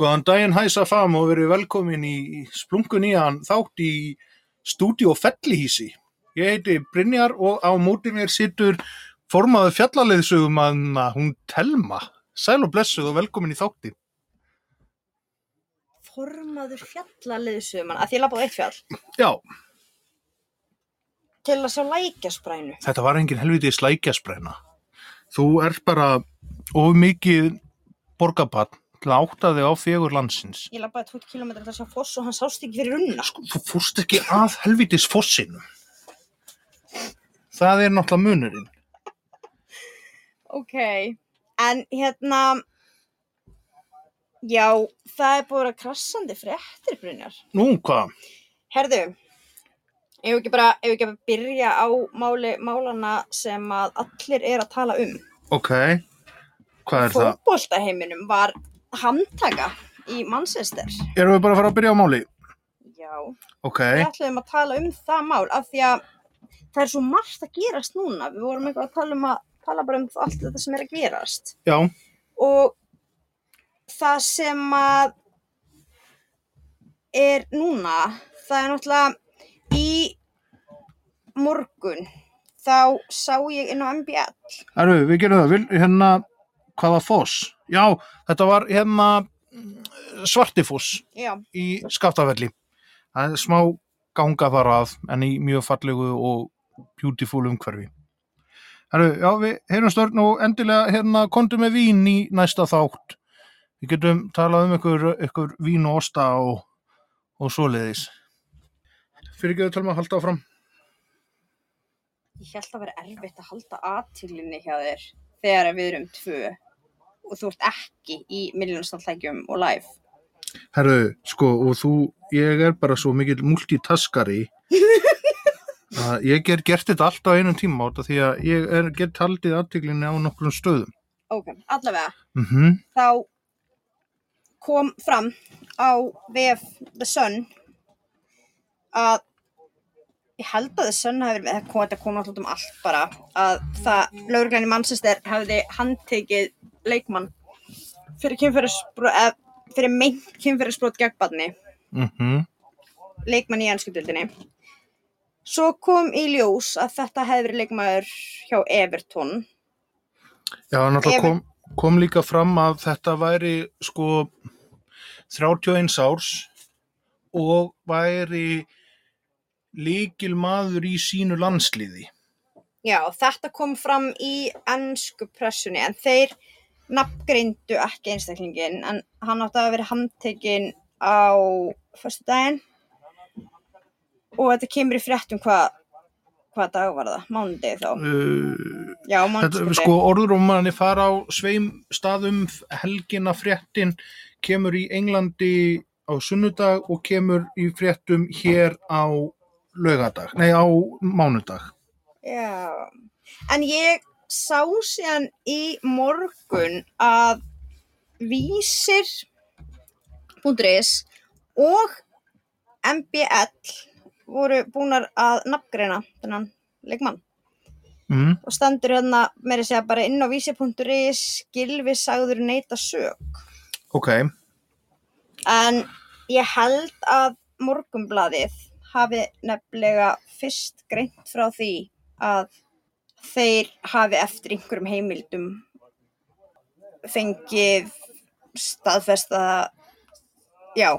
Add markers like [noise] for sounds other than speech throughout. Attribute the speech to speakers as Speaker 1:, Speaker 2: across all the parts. Speaker 1: Góðan daginn hæsa fam og verið velkomin í splungun í hann þátt í stúdíó Fellihísi. Ég heiti Brynjar og á móti mér sittur formaðu fjallaliðsugum að hún Telma. Sæl og blessuð og velkomin í þátti.
Speaker 2: formaður fjallaliðsumann að því ég lappa á eitt fjall
Speaker 1: Já,
Speaker 2: til að sjá lækjasprænu
Speaker 1: þetta var engin helviti slækjaspræna. Þú ert bara of mikið borgarbann til að átta þig á fegur landsins.
Speaker 2: ég lappaði 20 km til að sjá foss og hann sást ekki fyrir runna
Speaker 1: Sko, þú fórst ekki að helvitis fossinu. Það er náttúrulega munurinn.
Speaker 2: ok en hérna já það er búið að vera krassandi fréttir Brynjar
Speaker 1: Nú, hvað?
Speaker 2: herðu ef ekki bara ef ekki að byrja á máli málana sem að allir er að tala um
Speaker 1: Ok. Hvað er það?
Speaker 2: fótboltaheiminum var handtaka í Manchester
Speaker 1: Erum við bara að fara að byrja á máli?
Speaker 2: já
Speaker 1: Ok.
Speaker 2: við ætluðum að tala um það mál af því að það er svo margt að gerast núna við vorum eitthvað að tala um að tala bara um allt þetta sem er að gerast
Speaker 1: Já.
Speaker 2: og það sem að er núna það er náttúrulega í morgun þá sá ég inn á MBL
Speaker 1: Erum við, við gerum það. Vil, hérna, hvaða foss? Já, þetta var hérna svartifoss
Speaker 2: já,
Speaker 1: í skaftafelli. Það er smá ganga þar að, en í mjög fallegu og beautiful umhverfi. Herru, já, við heyrum störn og endilega hérna kondum með vín í næsta þátt. Við getum talað um ykkur, ykkur vín og osta og, og svoleiðis. Fyrir ekki að tala að halda áfram.
Speaker 2: ég held að vera erfitt að halda aðtílinni hjá þér þegar við erum tvö og þú ert ekki í miljónstalltækjum og live
Speaker 1: Herru, sko, og þú, ég er bara svo mikill [laughs] multitaskari að ég ger gert þetta allt á einum tíma átta því að ég er, get haldið aðtiklinni á nokkrum stöðum.
Speaker 2: Ok, allavega,
Speaker 1: Mhm.
Speaker 2: þá kom fram á VF The Sun að ég held að The Sun hafi verið með það kom, þetta kom alltaf um allt bara að það lauruglan í Manchester hefði handtekið leikmann fyrir kynferðisbrot eða fyrir meint kynferðisbrot gegn barni
Speaker 1: mhm.
Speaker 2: leikmann í ennskjöldildinni svo kom í ljós að þetta hefði verið leikmaður hjá Everton
Speaker 1: Já, náttúrulega
Speaker 2: Ef-
Speaker 1: kom, kom líka fram að þetta væri sko 31 árs og væri líkil maður í sínu landsliði.
Speaker 2: Já, þetta kom fram í ennsku pressunni en þeir nafngreindu ekki einstaklingin en hann átti að vera handtekinn á fyrstu daginn og þetta kemur í fréttum hvað hvað dag var það? Mánundi þá?
Speaker 1: Uh,
Speaker 2: Já,
Speaker 1: þetta,
Speaker 2: mánundi.
Speaker 1: sko orðrúmanni fara á sveim staðum helgina fréttin kemur í Englandi á sunnudag og kemur í fréttum hér á laugardag, nei á mánudag.
Speaker 2: Já, en ég sá síðan í morgun að vísir.is og MBL voru búnar að nafngreina þennan leikmann
Speaker 1: Mm.
Speaker 2: og stendur hérna meira að segja bara inn á vísir.is gilvi sagður neita sög
Speaker 1: Ok,
Speaker 2: en ég held að morgunbladið hafi nefnilega fyrst greint frá því að þeir hafi eftir einhverjum heimildum fengið staðfesta já,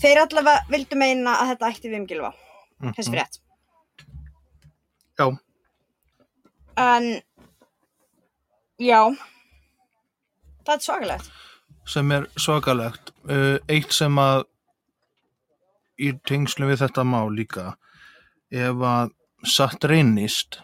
Speaker 2: þeir allavega vildu meina að þetta ætti við um gilva
Speaker 1: Mm.
Speaker 2: þessi frétt
Speaker 1: Mhm. Já.
Speaker 2: en já það er svakalegt
Speaker 1: sem er svakalegt uh, eitt sem að í tengslu við þetta má líka ef að satt reynist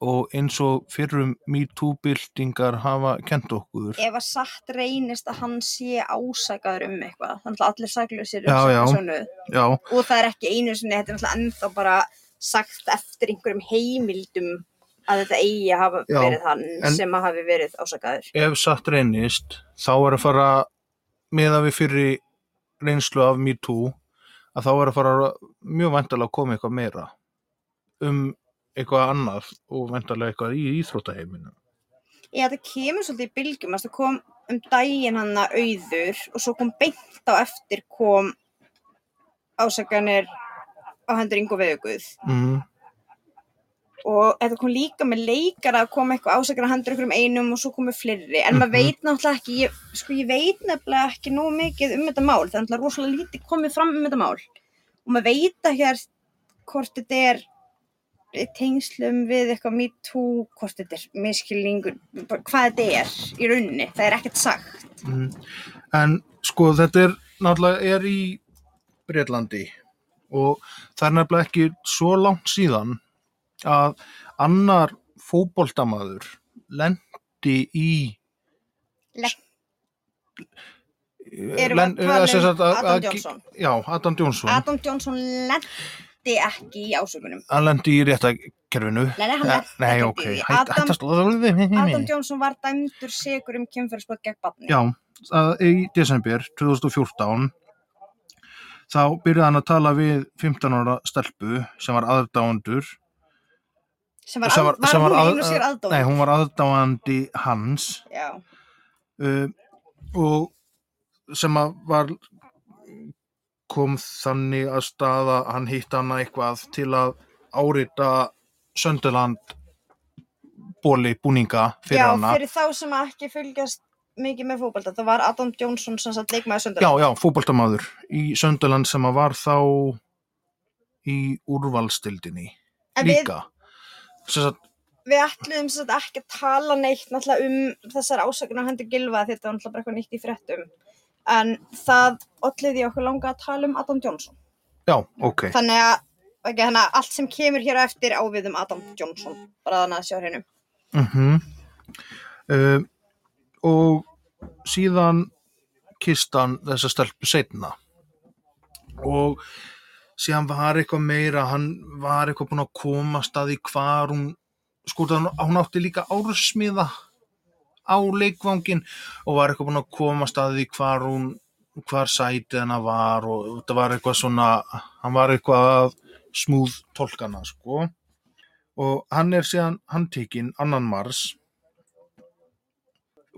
Speaker 1: og eins og fyrrum MeToo-byltingar hafa kent okkur.
Speaker 2: ef að satt reynist að hann sé ásakaður um eitthvað þannig að allir saklausir
Speaker 1: Já, já.
Speaker 2: um svona
Speaker 1: Já,
Speaker 2: og það er ekki einu sinni, þetta er náttúrulega ennþá bara sagt eftir einhverjum heimildum að þetta eigi að hafa
Speaker 1: Já,
Speaker 2: verið hann
Speaker 1: en-
Speaker 2: sem að hafi verið ásakaður
Speaker 1: ef satt reynist, þá er að fara meða við fyrri reynslu af MeToo, að þá er að fara mjög vandalega að koma eitthvað meira um eitthvað annað og vandalega eitthvað í íþróttaheiminum.
Speaker 2: Já, þetta kemur svolítið í bylgjum, það kom um daginn hann að auður og svo kom beint á eftir kom ásakanir á hendur yngu veðuguð
Speaker 1: Mm,
Speaker 2: og þetta kom líka með leikara að koma eitthvað ásakana hendur ykkur um einum og svo komu fleiri en maður
Speaker 1: Mhm.
Speaker 2: veit náttúrulega ekki ég, sko ég veit nefnilega ekki nóg mikið um þetta mál það er náttúrulega rosalega lítið komið fram um þetta mál og maður veit ekki að hvort þetta er í tengslum við eitthvað me too hvort þetta er miskilningur bara hvað þetta er í rauninni, það er ekkert sagt
Speaker 1: mm. En sko þetta er náttúrulega er í Breitlandi og það er nefnilega ekki svo langt síðan að annar fótboltamaður lendi í
Speaker 2: Lenn, erum
Speaker 1: Len- eh,
Speaker 2: við að
Speaker 1: sem sagt
Speaker 2: tala um
Speaker 1: að-
Speaker 2: Adam
Speaker 1: að-
Speaker 2: Johnson
Speaker 1: Já, Adam Johnson,
Speaker 2: Adam Johnson lendi ekki í ásökunum
Speaker 1: hann lendi í réttakerfinu
Speaker 2: Nei, nei, hann
Speaker 1: Eh,
Speaker 2: lenti
Speaker 1: Nei,
Speaker 2: ekki
Speaker 1: ok,
Speaker 2: í því.
Speaker 1: hætt-
Speaker 2: Adam-
Speaker 1: hættast Adam
Speaker 2: Adam Johnson var dæmdur segur um kynferðisbrot gegn barni
Speaker 1: Já, að í desember 2014 þá byrjaði hann að tala við 15 ára stelpu sem var aðdáendur
Speaker 2: sem var,
Speaker 1: sem
Speaker 2: var, var,
Speaker 1: sem
Speaker 2: var hún
Speaker 1: að-
Speaker 2: einu sér aðdóð
Speaker 1: Nei, hún var aðdáandi hans
Speaker 2: já,
Speaker 1: uh, og sem að var kom þannig að staða hann hitt hana eitthvað til að árita Sönderland bóli búninga fyrir
Speaker 2: já
Speaker 1: hana
Speaker 2: fyrir þá sem að ekki fylgjast mikið með fókbalta það var Adam Johnson sem satt leikmaði söndur
Speaker 1: Já, já, fótboltamaður í Sönderland sem að var þá í úrvalstildinni
Speaker 2: en við,
Speaker 1: líka sem sagt,
Speaker 2: við ætluðum sem sagt ekki að tala neitt náttúrulega um þessar ásakunar hendur gilfa því þetta var náttúrulega bara eitthvað nýtt í fréttum en það olliði okkur langa að tala um Adam Johnson
Speaker 1: já, ok
Speaker 2: þannig að Okay, þannig að allt sem kemur hér á eftir ávið um Adam Johnson, bara þannig að sjá hennu.
Speaker 1: mm uh, og síðan kistan þessa stelpu setna og síðan var eitthvað meira hann var eitthvað búin að komast að því hvar hún sko hún, hún átti líka ársmiða á leikvangin og var eitthvað búin að komast að því hvar hún hvar sætið hennar var og þetta var eitthvað svona hann var eitthvað að smúð tólkana sko og hann er síðan handtekinn annan mars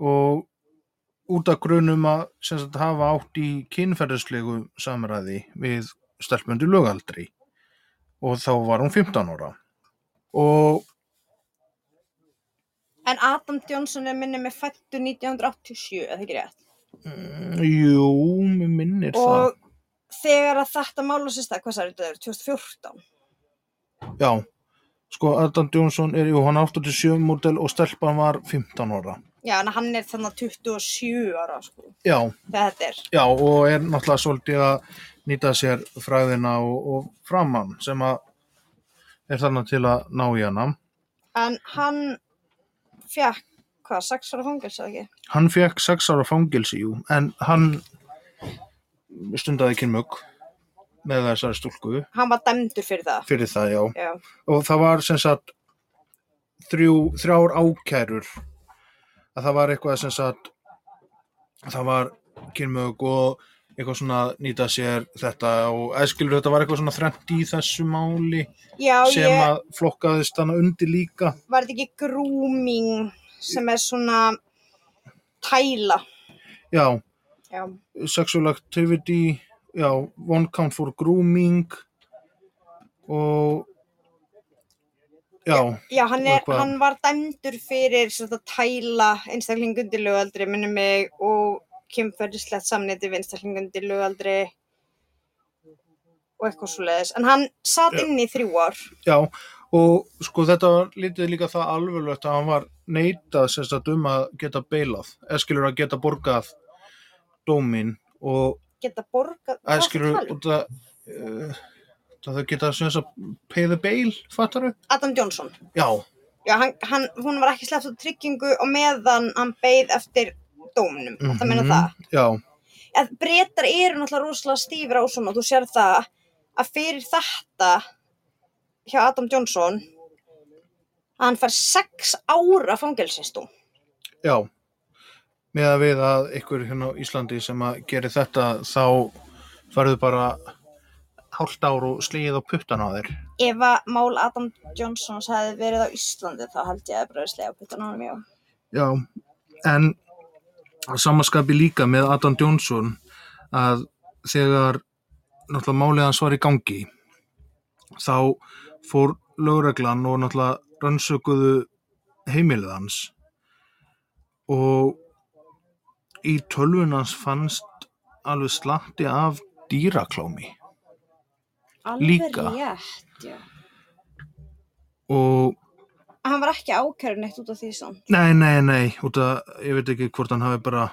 Speaker 1: og út af grunum að sem sagt, hafa átt í kynferðislegu samræði við stelpmundu lögaldri og þá var hún 15 ára og
Speaker 2: En Adam Johnson er minni með fættu 1987, eða ekki rétt?
Speaker 1: mm, jú, mér minnir
Speaker 2: og þegar að þetta mála sér stað, hvað sagði þetta er, 2014
Speaker 1: það já, sko Adam Jónsson er jú, hann er 87 módel og stelpan var 15 ára
Speaker 2: já, en hann er þannig 27 ára sko,
Speaker 1: já,
Speaker 2: þegar þetta er
Speaker 1: Já, og er náttúrulega svolítið að nýta sér fræðina og, og framann sem að er þarna til að ná í hana.
Speaker 2: en hann fjakk, hvað, 6 ára fangils eða ekki?
Speaker 1: Hann fekk sex ára fangilsi, jú, en hann stundaði kynmögg með þessari stúlku
Speaker 2: hann var dæmdur fyrir það
Speaker 1: fyrir það, já.
Speaker 2: já,
Speaker 1: Og það var sem sagt þrjú, þrjár ákærur að það var eitthvað sem sagt það var kynmögg og eitthvað svona nýta sér þetta og eðskilur þetta var eitthvað svona þrennt í þessu máli
Speaker 2: já
Speaker 1: sem
Speaker 2: ég
Speaker 1: að flokkaðist hana undir líka
Speaker 2: var þetta ekki grooming sem er svona tæla
Speaker 1: já,
Speaker 2: já,
Speaker 1: sexual activity já, one count for grooming og já,
Speaker 2: já hann, er,
Speaker 1: Og hvað?
Speaker 2: hann var dæmdur fyrir svona tæla einstaklingundi lögaldri minni mig og kemferðislegt samneiti við einstaklingundi lögaldri og eitthvað svo leiðis en hann satt
Speaker 1: Já.
Speaker 2: inn í þrjú ár
Speaker 1: já og sko þetta var lítið líka það alvegulegt að hann var neitað sérstætt um að geta beilað, eskilur að geta borgað dómin og
Speaker 2: geta borgað hvað ertu
Speaker 1: eskilur
Speaker 2: að tala um?
Speaker 1: út að eh, uh, það þau geta sérstætt pay the bail, fattar
Speaker 2: Adam Johnson
Speaker 1: Já,
Speaker 2: já, hann, hann, hún var ekki sleppt á tryggingu og meðan hann beið eftir dómnum, mm -hmm. það
Speaker 1: Mhm.
Speaker 2: meina það
Speaker 1: Já,
Speaker 2: að breytar eru náttúrulega rosalega stífur á svona, þú sér það að fyrir þetta hjá Adam Johnson að hann fær sex ára fangelsistú
Speaker 1: já. Með að við að ykkur hérna á Íslandi sem að gerir þetta þá farðu bara hálft ár og slegið á puttan á þér.
Speaker 2: ef að mál Adam Johnsons hefði verið á Íslandi þá held ég að bröðislega puttan á hann mjög
Speaker 1: Já, en að samaskapi líka með Adam Johnson að þegar náttúrulega málið hans var í gangi þá fór lögreglan og náttúrulega rannsökuðu heimilið hans og í tölvun hans fannst alveg slatti af dýraklómi
Speaker 2: alveg
Speaker 1: Líka.
Speaker 2: rétt, já
Speaker 1: og
Speaker 2: hann var ekki ákærun eitt út af því svona
Speaker 1: Nei, nei, nei, út að ég veit ekki hvort hann hafi bara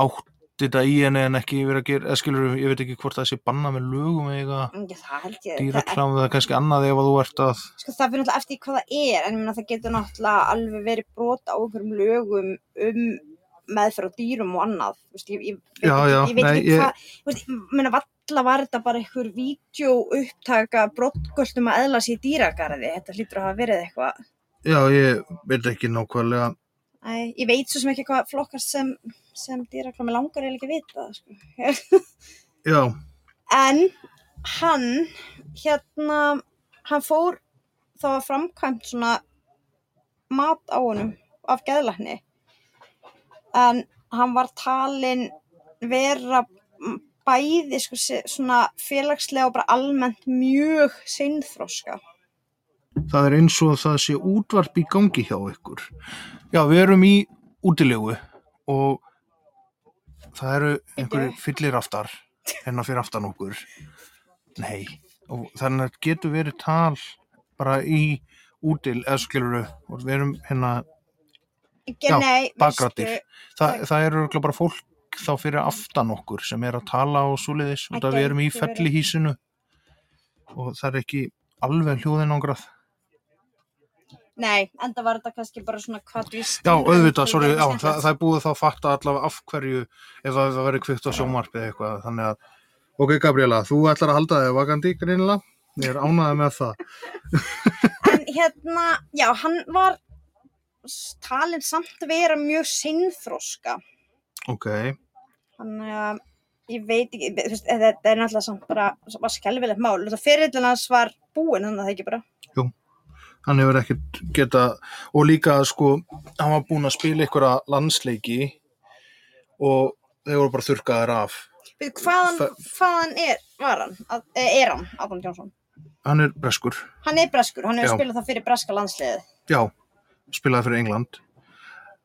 Speaker 1: átt þetta í henni en ekki verið að gera, eða skilur, ég veit ekki hvort það sé banna með lögum eða
Speaker 2: Já, það held ég það, er-
Speaker 1: dýraklám eða kannski annað ef að þú ert að
Speaker 2: sko, það fyrir náttúrulega eftir því hvað það er en ég meina, það getur náttúrulega alveg verið brot á einhverjum lögum um meðferð á dýrum og annað Þú veist, ég, ég, veit
Speaker 1: Já,
Speaker 2: ekki-
Speaker 1: já,
Speaker 2: ég veit
Speaker 1: nei,
Speaker 2: ekki
Speaker 1: ég-
Speaker 2: hvað ég... Veist, ég meina, valla var þetta bara einhver vídeo upptaka brotgöldum að eðla sér í dýragarði þetta hlýtur að hafa verið eitthvað
Speaker 1: Já, ég veit ekki nákvæmlega
Speaker 2: Æ, ég veit svo sem ekki hvað flokkast sem, sem dýraklami langar eða ekki að vita það, sko.
Speaker 1: Já,
Speaker 2: en hann hérna hann fór þá að framkvæmt svona mat á honum af geðlækni en hann var talin vera bæði sko, se- svona félagslega og bara almennt mjög seinþróska
Speaker 1: það er eins og það sé útvarp í gangi hjá ykkur Já, við erum í útilegu og það eru einhverju fyllir aftar hennar fyrir aftan okkur Nei, og þannig að getur verið tal bara í útil eða skiluru og við erum hérna, Já,
Speaker 2: Nei,
Speaker 1: bakraddir.
Speaker 2: veistu,
Speaker 1: það, það eru örugglega bara fólk þá fyrir aftan okkur sem er að tala og svoleiðis og það við erum í
Speaker 2: gæti verið.
Speaker 1: fellihísinu og það er ekki alveg hljóðin ángrað
Speaker 2: Nei, enda var þetta kannski bara svona hvað við
Speaker 1: Já,
Speaker 2: stýrum
Speaker 1: auðvitað,
Speaker 2: því,
Speaker 1: sorry,
Speaker 2: þetta
Speaker 1: já,
Speaker 2: er
Speaker 1: það,
Speaker 2: skemmtilegt.
Speaker 1: það er búið þá að fatta allavega af hverju ef það hefur verið kvikt á sjónvarpið eða eitthvað, þannig að Ok, Gabriela, þú ætlar að halda þig vakandi greinilega, ég er ánæðið með það
Speaker 2: En hérna, já, hann var s- talin samt vera mjög sinnþroska.
Speaker 1: Ok,
Speaker 2: Þannig að eh, ég veit ekki, þú veist, eða þetta er náttúrulega samt bara, var skelvilegt mál. Þetta fyrirlin hans var búinn, þannig að það ekki bara.
Speaker 1: hann hefur ekkert geta og líka sko, hann var búinn að spila einhverja landsleiki og þeir voru bara þurrkaðir af
Speaker 2: Við hvaðan,
Speaker 1: Það-
Speaker 2: hvaðan er, var hann, að, eh, er hann, Adam Jónsson?
Speaker 1: Hann er breskur,
Speaker 2: Hann er breskur, hann
Speaker 1: Já.
Speaker 2: hefur spilað það fyrir breska landsliðið.
Speaker 1: já, spilaði fyrir England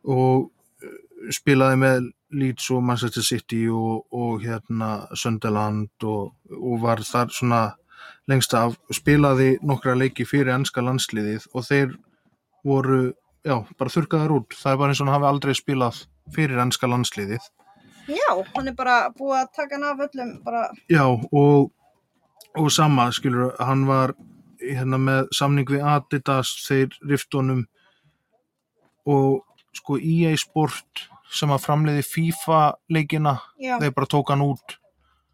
Speaker 1: og eh, spilaði með Leeds og Manchester City og, og hérna Sunderland og, og var þar svona lengst af, spilaði nokkra leiki fyrir ennska landsliðið og þeir voru, já, bara þurrkaðar út það er bara eins og hann hafi aldrei spilað fyrir ennska landsliðið
Speaker 2: Já, hann er bara búið að taka hann af öllum, bara,
Speaker 1: Já, og, og sama, skilur, hann var hérna með samning við Adidas, þeir riftunum og sko EA Sport sem að framleiði FIFA leikina,
Speaker 2: já,
Speaker 1: þeir bara tók hann út.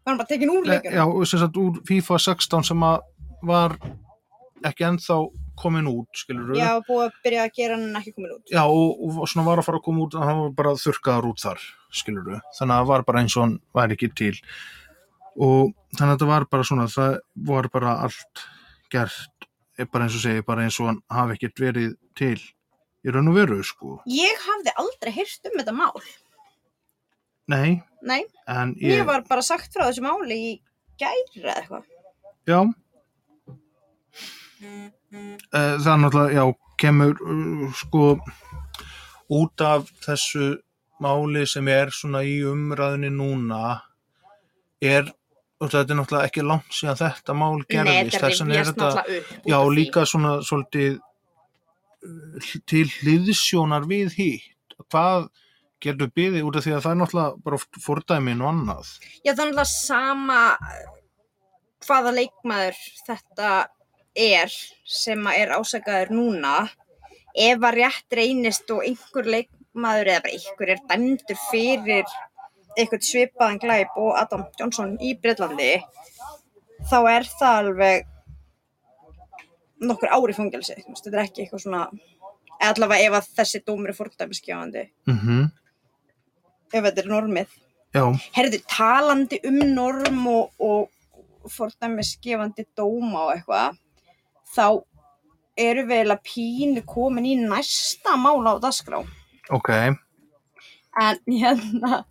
Speaker 2: hann er bara tekin úr
Speaker 1: Le,
Speaker 2: leikunum.
Speaker 1: já, sem sagt úr FIFA 16 sem að var ekki ennþá komin út, skilur.
Speaker 2: Já, búið að byrja að gera hann ekki komin út.
Speaker 1: Já, og, og svona var að fara að koma út en hann var bara þurrkaður út þar, skilur þannig að það var bara eins og hann væri ekki til og þannig að þetta var bara svona það var bara allt gert, eh, bara eins og segi bara eins og hann hafi ekkert verið til í raun og veru, sko
Speaker 2: Ég hafði aldrei heyrt um þetta mál.
Speaker 1: Nei,
Speaker 2: Nei,
Speaker 1: en
Speaker 2: ég,
Speaker 1: ég,
Speaker 2: var bara sagt frá þessu máli í gæri eða eitthvað.
Speaker 1: já
Speaker 2: Mm,
Speaker 1: Eh, það er náttúrulega, já, kemur uh, sko út af þessu máli sem er svona í umræðinni núna er og þetta er náttúrulega ekki langt síðan þetta mál gerðist, þess vegna er þetta
Speaker 2: upp. út
Speaker 1: já,
Speaker 2: af því.
Speaker 1: líka svona svolítið uh, til hliðsjónar við hitt hvað getur byðið út af því að það er náttúrulega bara oft fordæmin og annað
Speaker 2: Já, það er náttúrulega sama eh, hvaða leikmaður þetta er sem að er ásakaður núna ef að rétt reynist og einhver leikmaður eða bara einhver er dæmdur fyrir einhvern svipaðan glæp og Adam Johnson í Breitlandi þá er það alveg nokkur ári fangelsi þú veist, þetta er ekki eitthvað svona eða allavega ef að þessi dómur er fordæmiskjáandi
Speaker 1: Mm
Speaker 2: ef þetta er normið
Speaker 1: Já,
Speaker 2: Herðu, talandi um norm og, og fordæmis gefandi dóma og eitthvað, þá eru við eiginlega pínu komin í næsta mála á dagskrá.
Speaker 1: ok.
Speaker 2: En hérna,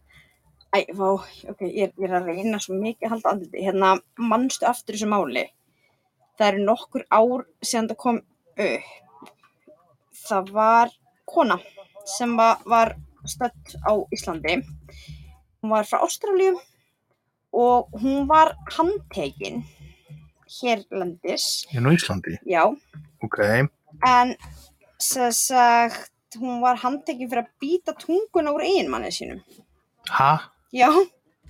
Speaker 2: æ, vá, ok, ég, ég er að reyna svo mikið að halda andliti. Hérna, mannstu aftur þessu máli. Það eru nokkur ár sem það kom upp. Það var kona sem var, var stödd á Íslandi. Hún var frá Ástralíu og hún var handtekinn hérlendis.
Speaker 1: Ég er nú Íslandi.
Speaker 2: Já,
Speaker 1: Ok.
Speaker 2: en sem sagt, hún var handtekinn fyrir að býta tunguna úr eiginmanni sínum.
Speaker 1: Ha?
Speaker 2: Já,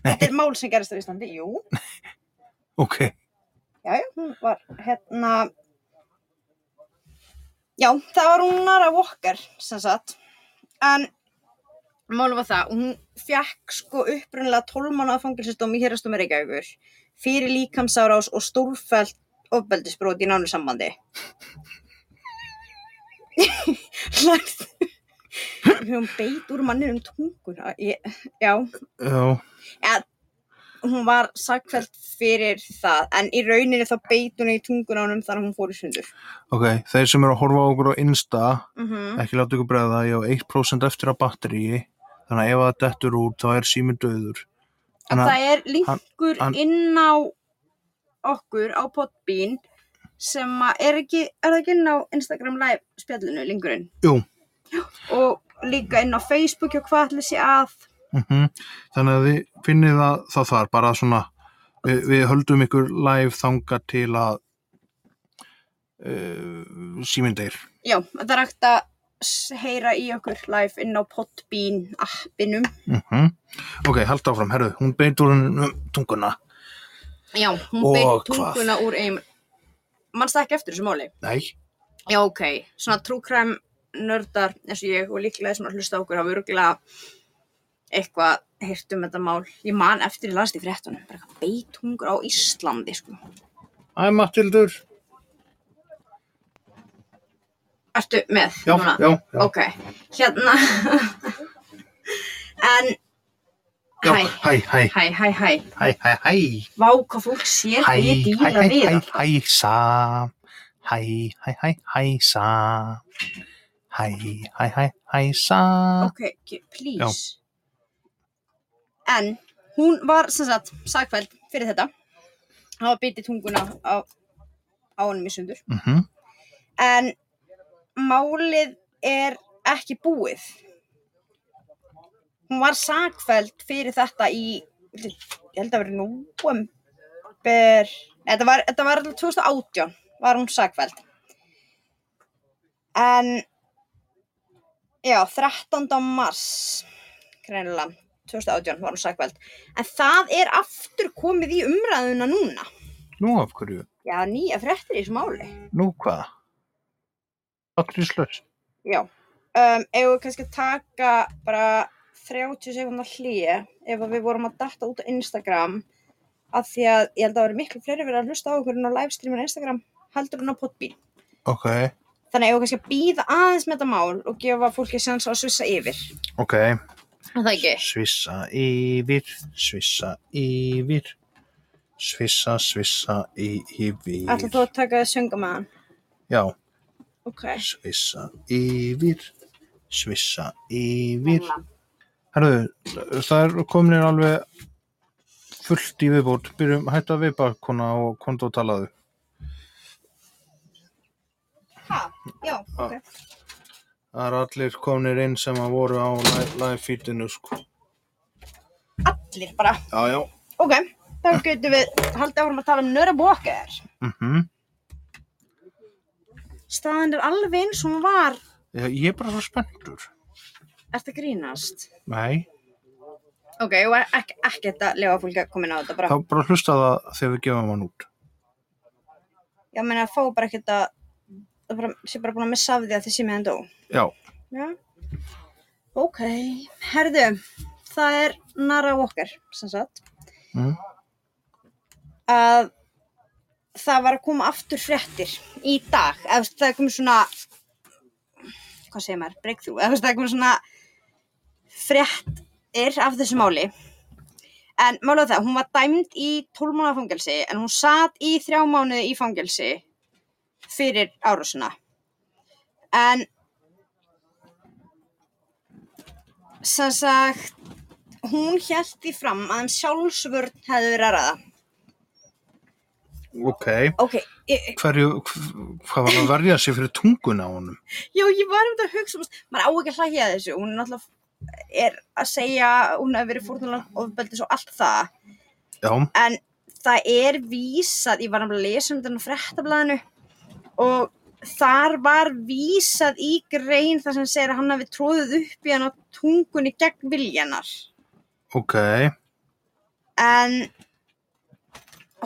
Speaker 2: þetta er mál sem gerist á Íslandi, jú.
Speaker 1: Ok.
Speaker 2: Já, já, hún var hérna... Já, það var hún Nara Walker, sem sagt. En málum var það, hún fjakk sko upprunnilega 12 mánuða fangilsistum í hérastum Reykjavíkur fyrir líkamsárás og stórfælt ofbeldisbrót í nánu sambandi. [laughs] Lægst. Hún beit úr mannir um tunguna. Ég, já,
Speaker 1: Já,
Speaker 2: eða hún var sakfælt fyrir það en í rauninni þá beit hún í tungun á hennum þannig að hún fór í sundur
Speaker 1: ok. Þeir sem eru að horfa á okkur á Insta,
Speaker 2: mm -hmm.
Speaker 1: ekki láta ykkur bregða, ég á 1% eftir að batteríi. Þannig að ef það dettur út, þá er síminn döður.
Speaker 2: en
Speaker 1: Þannig að-
Speaker 2: það er linkur
Speaker 1: hann-
Speaker 2: inn á okkur á podbín sem að er ekki er það ekki inn á Instagram live spjallinu lingurinn
Speaker 1: Jú.
Speaker 2: og líka inn á Facebook og hvað allir sé að
Speaker 1: Mm Þannig að þið finnið það, það þar, bara svona, við, við höldum ykkur live þanga til að uh, síminn deyr.
Speaker 2: já, það er hægt að s- heyra í okkur live inn á podbín appinum
Speaker 1: Mm Ok, halda áfram, herru, hún beitur hann um tunguna.
Speaker 2: já, hún
Speaker 1: Og
Speaker 2: beit
Speaker 1: hvað?
Speaker 2: tunguna úr einum mannst það ekki eftir þessu máli
Speaker 1: Nei,
Speaker 2: Já, ok. Svona true crime nördar eins og ég og líklega sem að hlusta á okkur hafa örgulega eitthvað heyrt um þetta mál. Ég man eftir í last í fréttunum, bara eitthvað beitungur á Íslandi, sko.
Speaker 1: Æ, Matildur.
Speaker 2: Ertu með?
Speaker 1: Já,
Speaker 2: núna?
Speaker 1: já, já.
Speaker 2: Ok, hérna. [laughs] en,
Speaker 1: já.
Speaker 2: hæ,
Speaker 1: Hæ, hæ,
Speaker 2: hæ, hæ, hæ.
Speaker 1: hæ, hæ, hæ.
Speaker 2: Vá, hvað fólk sér
Speaker 1: Hæ,
Speaker 2: hæ, við
Speaker 1: hæ,
Speaker 2: díla
Speaker 1: hæ,
Speaker 2: við
Speaker 1: hæ,
Speaker 2: þetta.
Speaker 1: hæ, sam. Hæ, hæ, hæ, hæ, sam. Hæ, hæ, hæ, hæ, sam.
Speaker 2: Ok, ge- please. En hún var sem sagt sagfæld fyrir þetta. Það var bitið tunguna á, á honum í sundur.
Speaker 1: Mhm.
Speaker 2: En málið er ekki búið. Hún var sagfæld fyrir þetta í, ég held að vera november, þetta var, þetta var 2018 var hún sagfæld. En, já, 13. mars, greinilega, 2018 var hún sagfæld. En það er aftur komið í umræðuna núna.
Speaker 1: Nú af hverju?
Speaker 2: Já, nýja fréttir í þessu máli.
Speaker 1: Nú hvað? Patrislaus.
Speaker 2: Já, um, ef við kannski að taka bara 30 sekundar hlýja ef að við vorum að datta út á Instagram af því að ég held að það eru miklu fleiri verið að hlusta á okkur en á livestreamin á Instagram heldur en á Podbean.
Speaker 1: Ok.
Speaker 2: Þannig að ef við kannski að býða aðeins með þetta mál og gefa fólki sens á að sussa yfir.
Speaker 1: Ok.
Speaker 2: Er Það ekki.
Speaker 1: Svissa yfir, svissa yfir, svissa, svissa y- yfir.
Speaker 2: Ætla þú að taka að sönga með hann?
Speaker 1: Já,
Speaker 2: Ok.
Speaker 1: svissa yfir, svissa yfir. Herðu, það er kominir alveg fullt í viðbót. Byrjum hættu að viðbá kona og kontu og talaðu.
Speaker 2: Ha, já, ok.
Speaker 1: Það er allir kominir inn sem að voru á live- live feedinu sko.
Speaker 2: Allir bara.
Speaker 1: Já, já.
Speaker 2: Ok, þá getum við haldið áfram að tala um Nöra Walker.
Speaker 1: Mhm.
Speaker 2: Staðan er alveg eins og hún var.
Speaker 1: Já, ég er bara svo spenntur.
Speaker 2: Ertu að grínast?
Speaker 1: Nei,
Speaker 2: Ok, og ekki, ekki þetta lefa fólk að koma inn á þetta bara.
Speaker 1: þá bara hlusta það þegar við gefum hann út.
Speaker 2: Já, menn að fá bara ekkert að það bara, sé bara búin að missa af því að þessi meðan dó.
Speaker 1: Já,
Speaker 2: Já. Ok, herðu, það er Nara Walker, sem sagt,
Speaker 1: mm.
Speaker 2: að það var að koma aftur fréttir í dag, eða þú veist, það er komið svona, hvað segir maður, breakthrough, eða þú veist, það er komið svona fréttir af þessu máli. En málega það, hún var dæmd í 12 mánuða fangelsi, en hún satt í þrjá mánuði í fangelsi fyrir árásuna. En sem sagt, hún held því fram að um sjálfsvörn hefði verið að ræða.
Speaker 1: ok.
Speaker 2: Ok, ég,
Speaker 1: Hverju, hv- hvað var að verja sig fyrir tunguna á honum?
Speaker 2: já, ég var um þetta að hugsa, um, maður á ekki að hlæja að þessu, hún er náttúrulega er að segja, að hún hefur verið fórnulega ofbeldis og allt það,
Speaker 1: Já,
Speaker 2: en það er vísað, ég var nefnilega að lesa um þetta á frettablaðinu og þar var vísað í grein þar sem segir að hann hafi tróðið upp í hann á tungunni gegn viljanar.
Speaker 1: ok.
Speaker 2: en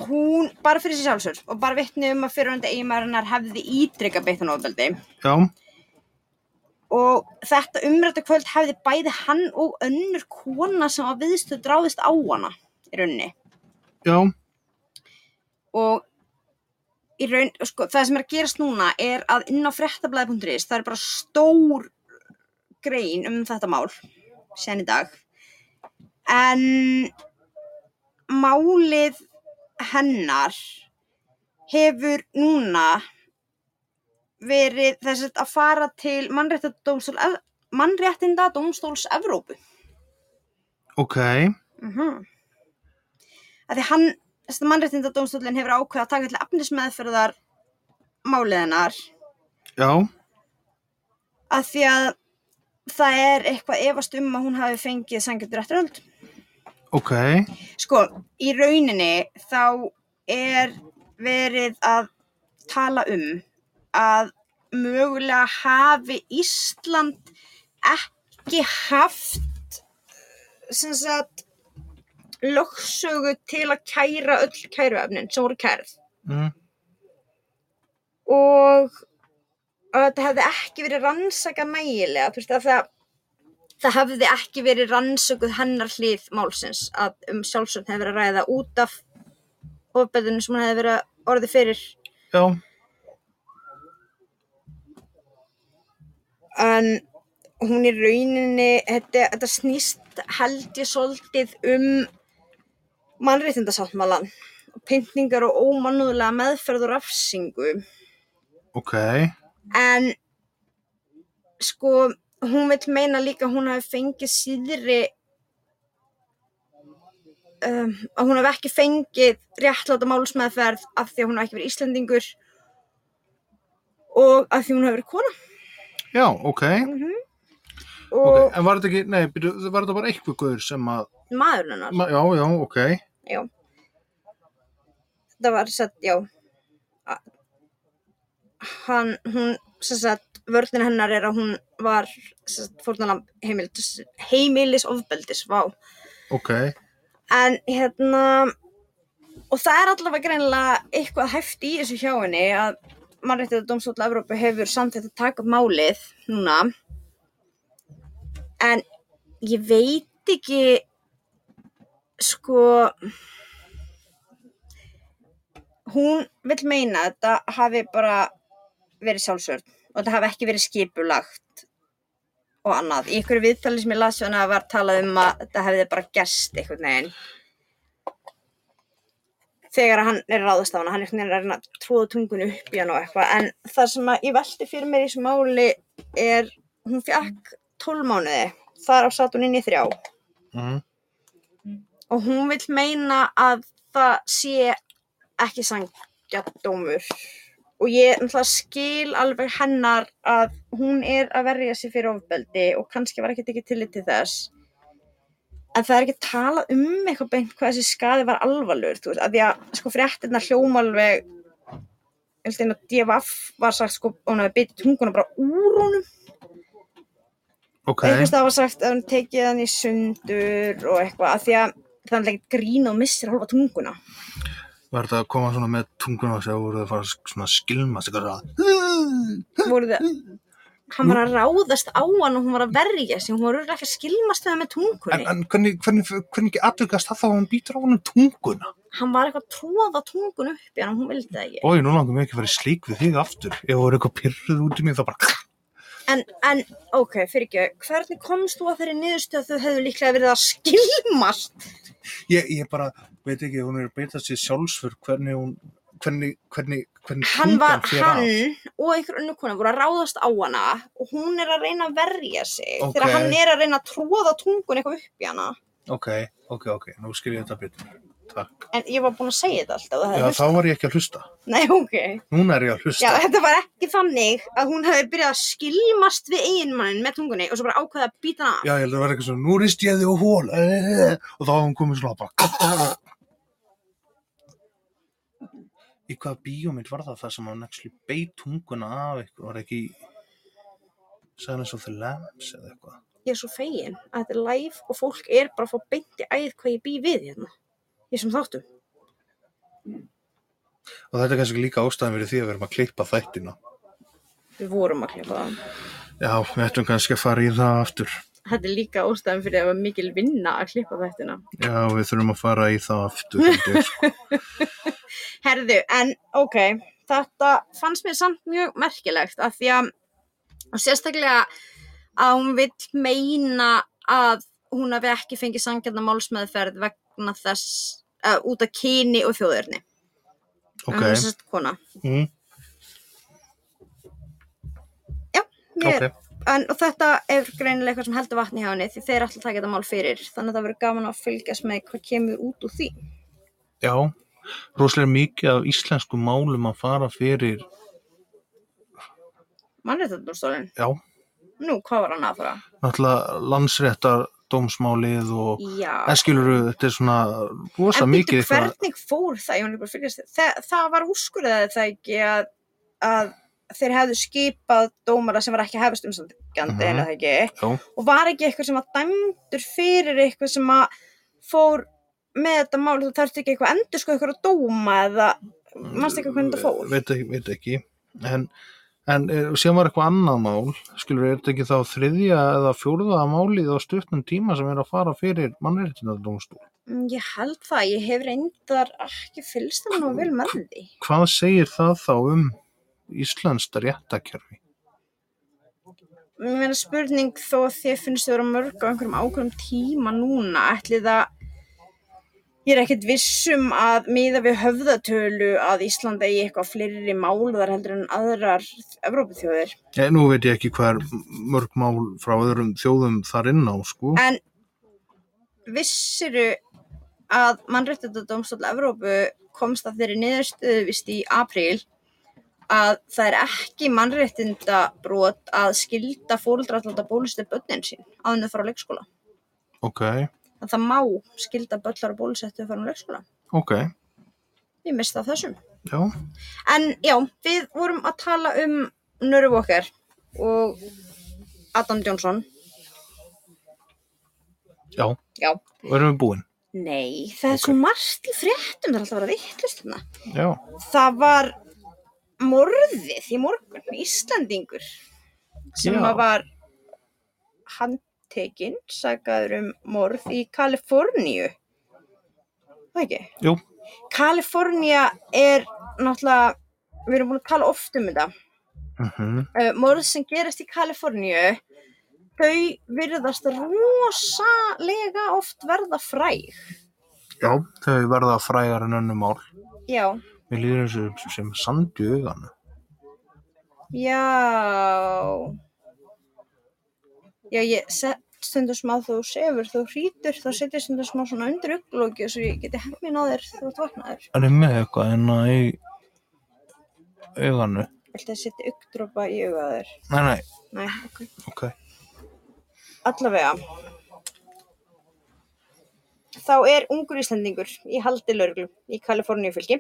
Speaker 2: hún bara fyrir sér sjálfsögur og bara vitni um að fyrirhandi eiginmaðurinnar hefði ítrykka beitt hann ofbeldi
Speaker 1: Já,
Speaker 2: og þetta umrættu kvöld hefði bæði hann og önnur kona sem að viðstu dráðist á hana í rauninni
Speaker 1: já,
Speaker 2: og í raun, sko, það sem er að gerast núna er að inn á frettablaði.is það er bara stór grein um þetta mál sen í dag en málið hennar hefur núna verið þess að fara til mannréttindadómstól mannréttindadómstóls Evrópu
Speaker 1: ok.
Speaker 2: Mm -hmm. Því hann, þessi mannréttindadómstóllin hefur ákveð að taka til efnismeðferðar málið hennar
Speaker 1: Já,
Speaker 2: að því að það er eitthvað efast um að hún hafi fengið sangjöld rétturöld.
Speaker 1: ok.
Speaker 2: Sko, í rauninni þá er verið að tala um að mögulega hafi Ísland ekki haft sem sagt lögsögu til að kæra öll kæruefnin sem voru kærð
Speaker 1: Mm.
Speaker 2: og að þetta hefði ekki verið rannsakað nægilega þú veist að það það hefði ekki verið rannsökuð hennar hlið málsins að um sjálfsögn hefði verið að ræða út af ofbeldunum sem hann hefði verið orðið fyrir
Speaker 1: Já,
Speaker 2: en hún í rauninni þetta, þetta snýst held ég svolítið um mannréttindasáttmálan pyntingar og ómannúðlega meðferð og rafsingu
Speaker 1: ok.
Speaker 2: en sko hún vill meina líka að hún hafi fengið síðri um, að hún hafi ekki fengið réttláta málsmeðferð af því að hún hafi ekki verið Íslendingur og af því hún hafi verið kona
Speaker 1: Já, ok.
Speaker 2: og
Speaker 1: Ok, en var þetta ekki, nei, byrju, var þetta bara eitthvað guður sem að,
Speaker 2: maður hennar
Speaker 1: ma- já, já, ok,
Speaker 2: já. þetta var satt, já A- hann, hún sem sagt, vörðin hennar er að hún var sem sagt, fórnalamb heimilis, heimilis ofbeldis, vá
Speaker 1: ok,
Speaker 2: En hérna, og það er allavega greinilega eitthvað hæft í þessu hjá henni að mannréttið Dómstóla Evrópu hefur samþýtt að taka upp málið núna. En ég veit ekki, sko, hún vil meina að þetta hafi bara verið sjálfsvörn og þetta hafi ekki verið skipulagt og annað. Í einhverju viðtali sem ég las við hana var talað um að þetta hefði bara gerst einhvern veginn. Þegar hann er að ráðast á hana, hann er einhvern veginn að reyna að tróða tungun upp í hann og eitthvað. En það sem að ég velti fyrir mér í þessu máli er, hún fjakk 12 mánuði, þar á satt hún inn í þrjá.
Speaker 1: mm.
Speaker 2: Og hún vil meina að það sé ekki sangjadómur. Og ég náttúrulega skil alveg hennar að hún er að verja sig fyrir ofbeldi og kannski var ekkert ekki tillit til þess. En það er ekki talað um eitthvað beint hvað þessi skadi var alvarlegur, þú veist, að því að sko fréttirna hljóma alveg, ég held einu að DFF var sagt sko, hún hefði bitið tunguna bara úr honum
Speaker 1: ok,
Speaker 2: einhvers það var sagt að hún tekið hann í sundur og eitthvað af því að það er ekkert grín og missir hálfa tunguna
Speaker 1: Var þetta að koma svona með tunguna og segja voru það að fara að svona skilmast eitthvað svona
Speaker 2: voru þau hann var að ráðast á hann og hún var að verja sig hún var örugglega ekki að skilmast það með tungunni
Speaker 1: En, en hvernig, hvernig, hvernig atvöggast það þá að hún býtur á honum tunguna?
Speaker 2: hann var eitthvað að tróða tungun upp í hann og hún vildi það ekki
Speaker 1: Ói, nú langar mér ekki að fara í slík við þig aftur. Ef voru eitthvað pyrruð út í mig þá bara...
Speaker 2: en, en ok, fyrir ekki, hvernig komst þú að þeirri niðurstöð að þau hefðu líklega verið að skilmast
Speaker 1: Ég, ég bara, veit ekki, hún er að beita sér sjálfsfur hvernig hún, hvernig, hvernig, hvernig
Speaker 2: hann var,
Speaker 1: tungan fer af.
Speaker 2: hann og einhver önnu kona voru að ráðast á hana og hún er að reyna að verja sig
Speaker 1: Ok.
Speaker 2: þegar hann er að reyna að tróða tungun eitthvað upp í hana
Speaker 1: Ok, ok, ok, nú skil ég þetta betur. Takk.
Speaker 2: en ég var búin að segja þetta alltaf
Speaker 1: Já,
Speaker 2: ja,
Speaker 1: þá var ég ekki að hlusta.
Speaker 2: nei, ok
Speaker 1: Núna er ég að
Speaker 2: Já,
Speaker 1: hlusta.
Speaker 2: þetta var ekki þannig að hún hefði byrjað að skilmast við eiginmannin með tungunni og svo bara ákveða að býta hana af.
Speaker 1: Já, ég held að það var eitthvað svona, nú rist ég þig á hól. eh, Og þá var hún komið svona bara... Í hvaða bíómynd var það það sem hann ekki beit tunguna af eitthvað? Var ekki... Silence of the Lambs eða eitthvað?
Speaker 2: Ég er svo fegin að þetta er live og fólk er bara að fá beint í æð hvað ég bý við hérna. Ég sem þáttum.
Speaker 1: Og þetta er kannski líka ástæðan fyrir því að við erum að klippa þættina.
Speaker 2: Við vorum að klipa það.
Speaker 1: Já, við ættum kannski að fara í það aftur.
Speaker 2: Þetta er líka ástæðan fyrir að það var mikil vinna að klippa þættina.
Speaker 1: Já, við þurfum að fara í það aftur. held
Speaker 2: [laughs]
Speaker 1: ég, sko.
Speaker 2: Herðu, en ok, þetta fannst mér samt mjög merkilegt að því að og sérstaklega að hún vill meina að hún hafi ekki fengið sangjarna málsmeðferð vegna þess uh, út af kyni og þjóðurni.
Speaker 1: ok,
Speaker 2: Hún er sérst kona.
Speaker 1: mm,
Speaker 2: Mér,
Speaker 1: ok.
Speaker 2: en, og þetta er greinilega eitthvað sem heldur vatni hjá henni því þeir alltaf taka þetta mál fyrir þannig að það verður gaman að fylgjast með hvað kemur út úr því.
Speaker 1: Já, rosalega mikið af íslensku málum að fara fyrir.
Speaker 2: Mannréttindumstólinn,
Speaker 1: Já,
Speaker 2: nú hvað var hann að fara?
Speaker 1: náttúrulega landsréttar dómsmálið og
Speaker 2: Já.
Speaker 1: eskiluru, þetta er svona rosa
Speaker 2: En
Speaker 1: mikið
Speaker 2: býttu
Speaker 1: eitthvað.
Speaker 2: hvernig fór það, ég var bara að fylgjast þér, það, það var úrskurðaði það ekki að, að þeir hefðu skipað dómara sem var ekki hefist umsamgjandi
Speaker 1: Mhm.
Speaker 2: mm það ekki
Speaker 1: Já,
Speaker 2: og var ekki eitthvað sem var dæmdur fyrir eitthvað sem að fór með þetta mál, þú þarfst ekki eitthvað endur sko eitthvað að dóma eða mannst ekki hvernig þetta fór?
Speaker 1: Veit ekki, veit ekki. En, en eh, síðan var eitthvað annað mál, skilur, er þetta ekki þá þriðja eða fjórða málið á stuttum tíma sem er að fara fyrir mannréttindadómstól?
Speaker 2: Mm, Ég held það, ég hef reyndar ekki fylgst það nú vel með því.
Speaker 1: Hvað segir það þá um íslenskt réttakerfi?
Speaker 2: Mér meina spurning þó að þið finnst þið vera mörg á einhverjum ákveðum tíma núna, ætli það ég er ekkert vissum að miða við höfðatölu að Ísland eigi eitthvað fleiri málðar heldur en aðrar Evrópuþjóðir.
Speaker 1: Ég, Eh, nú veit ég ekki hvað er mörg mál frá öðrum þjóðum þar inn á, sko.
Speaker 2: En vissiru að mannréttindadómstól Evrópu komst að þeirri niðurstöðu vist í apríl að það er ekki mannréttindabrót að skilda fóruldra alltaf bólustu börnin sín áðinu frá leikskóla.
Speaker 1: Ok,
Speaker 2: að það má skilda böllar og bólusettu fyrir um leikskóla.
Speaker 1: ok,
Speaker 2: Ég mista af þessum.
Speaker 1: já,
Speaker 2: En já, við vorum að tala um Nörru okkar og Adam Jónsson.
Speaker 1: já,
Speaker 2: Já.
Speaker 1: og erum við búin?
Speaker 2: Nei, það er svo margt í fréttum, það er alltaf að vera vittlust hérna.
Speaker 1: Já,
Speaker 2: Það var morðið í morgun, Íslandingur, sem
Speaker 1: Já.
Speaker 2: að var handtekinn, sagaður um morð í Kaliforníu. Það ekki?
Speaker 1: jú,
Speaker 2: Kalifornía er náttúrulega, við erum búin að tala oft um þetta,
Speaker 1: mhm,
Speaker 2: uh, morð sem gerast í Kaliforníu, þau virðast rosalega oft verða fræg.
Speaker 1: já, þau verða frægar en önnum mál.
Speaker 2: Já,
Speaker 1: Mér líður eins og sem- sem sandi auganu.
Speaker 2: já, já, ég set stundum smá þú sefur, þú hrítur, þá setjum stundum smá svona undir upplókið svo ég geti hemmið á þér þegar þú ert vaknaður.
Speaker 1: Er ég með eitthvað en að í auganu?
Speaker 2: Viltu að setja augndropa í auga þér?
Speaker 1: Nei, nei,
Speaker 2: Nei, ok.
Speaker 1: ok.
Speaker 2: Allavega. Þá er ungur Íslandingur í haldi lörglu í Kaliforníu fylki.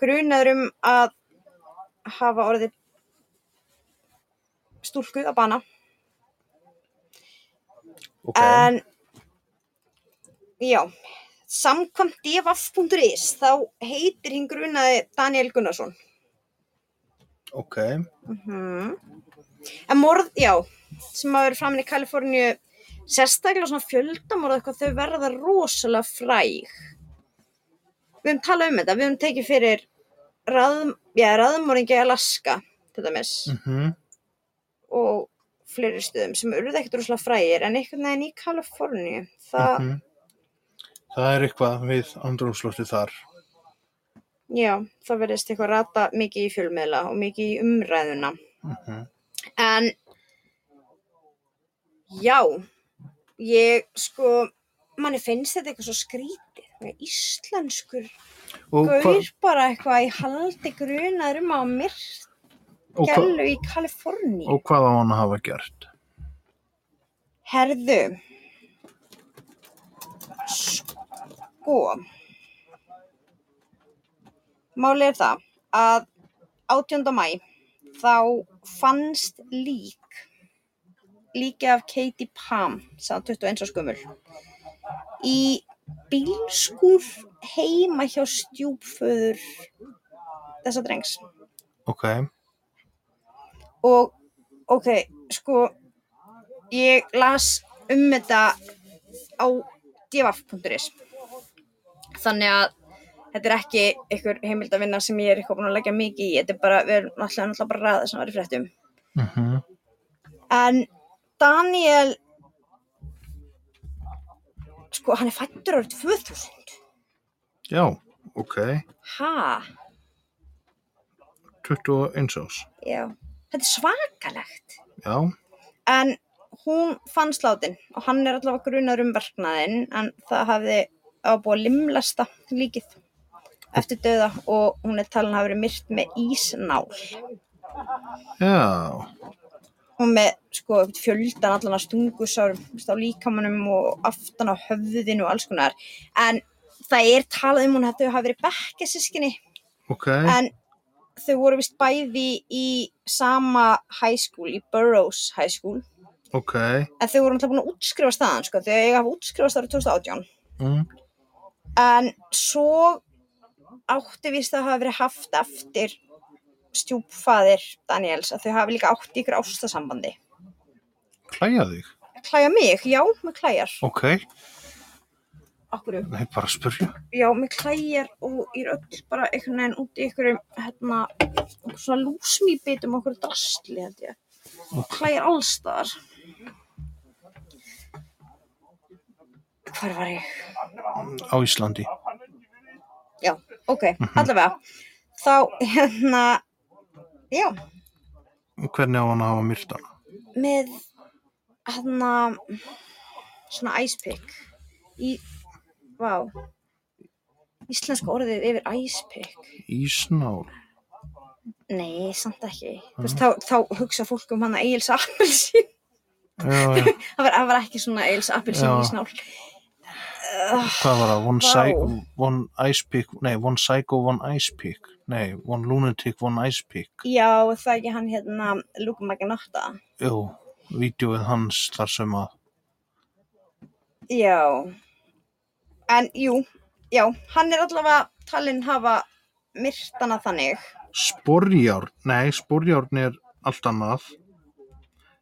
Speaker 2: Grunaður um að hafa orðið stúlku að bana.
Speaker 1: Ok,
Speaker 2: En, já, samkvæmt dfaf.is þá heitir hinn grunaði Daniel Gunnarsson
Speaker 1: ok,
Speaker 2: Mhm. En morð, já, sem hafa verið framin í Kaliforníu, sérstaklega svona fjöldamorð eitthvað, þau verða rosalega fræg. Við höfum talað um þetta, við höfum tekið fyrir ráðum, já, ráðumorðingi í Alaska, til dæmis,
Speaker 1: mhm
Speaker 2: og fleiri stöðum sem eruð ekkert rosalega frægir, en einhvern veginn í Kaliforníu, það,
Speaker 1: Mhm. Það er eitthvað við andrumslóttið þar.
Speaker 2: já, það verðist eitthvað rata mikið í fjölmiðla og mikið í umræðuna.
Speaker 1: Mm
Speaker 2: En já, ég sko, manni finnst þetta eitthvað svo skrítið. Eitthvað Íslenskur
Speaker 1: Og, hva,
Speaker 2: gaur bara eitthvað í haldi grunar um að myrkt
Speaker 1: og, hva,
Speaker 2: gælu í Kaliforni.
Speaker 1: og hvað á hann að hafa gert?
Speaker 2: Herðu, sko, máli er það að 18. mæ þá fannst lík, líki af Katie Pam, sá 21 og skumul, í bílskur heima hjá stjúpföður þessa drengs
Speaker 1: Ok,
Speaker 2: og ok, sko ég las um þetta á divaf.is þannig að þetta er ekki einhver heimildavinna sem ég er eitthvað búin að leggja mikið í þetta er bara, við erum alltaf, alltaf bara ræða sem var í fréttum
Speaker 1: mm
Speaker 2: en Daniel sko, hann er fættur árið 2000
Speaker 1: já, ok,
Speaker 2: ha,
Speaker 1: 21 ás,
Speaker 2: já þetta er svakalegt
Speaker 1: já,
Speaker 2: en hún fann sláttinn og hann er allavega grunar um verknaðinn en það hafði það var búið að limlasta líkið eftir döða og hún er talin að hafa verið myrt með ísnál
Speaker 1: já,
Speaker 2: og með sko einhvern fjöldan allan að stungusárum þú veist, á líkamanum og aftan á höfðinu og alls konar en það er talað um hún að þau hafa verið bekkjasískinni
Speaker 1: ok,
Speaker 2: en þau voru vist bæði í sama high school, í Burroughs high school
Speaker 1: ok,
Speaker 2: en þau voru náttúrulega búin að útskrifa staðan sko, þau eiga að hafa útskrifast árið 2018
Speaker 1: mm,
Speaker 2: en svo átti víst að hafa verið haft eftir stjúpfaðir Daniels að þau hafi líka átt í ykkur ástasambandi
Speaker 1: klæja þig,
Speaker 2: klæja mig, já, mig klæjar
Speaker 1: ok,
Speaker 2: Akkur,
Speaker 1: það er bara að spurja,
Speaker 2: já, mig klæjar og ég er öll bara einhvern veginn út í ykkur hérna, einhver svona lúsmýbitum okkur drastli held ég klæjar allstar hvar var ég?
Speaker 1: á Íslandi,
Speaker 2: Já, ok, allavega. Þá, hérna, já,
Speaker 1: hvernig á hann að hafa myrt hana?
Speaker 2: með, hérna, svona ice pick. Í, vá, íslenska orðið yfir ice pick.
Speaker 1: Ísnál,
Speaker 2: Nei, samt ekki. Þú veist, þá, þá hugsa fólk um hana Egilsa appelsín.
Speaker 1: já, já,
Speaker 2: [laughs] það, var, það var ekki svona Egilsa appelsín
Speaker 1: Já.
Speaker 2: í snál.
Speaker 1: hvað var það, one
Speaker 2: Vá.
Speaker 1: psycho, one ice pick, nei, one psycho, one ice pick, nei, one lunatic, one ice pick,
Speaker 2: Já, er það ekki hann hérna, Luka Magnotta.
Speaker 1: Jú, vídjóið hans þar sem að
Speaker 2: Já. En jú, já, hann er allavega talinn hafa myrtana þannig.
Speaker 1: sporjárn, nei, sporjárn er allt annað.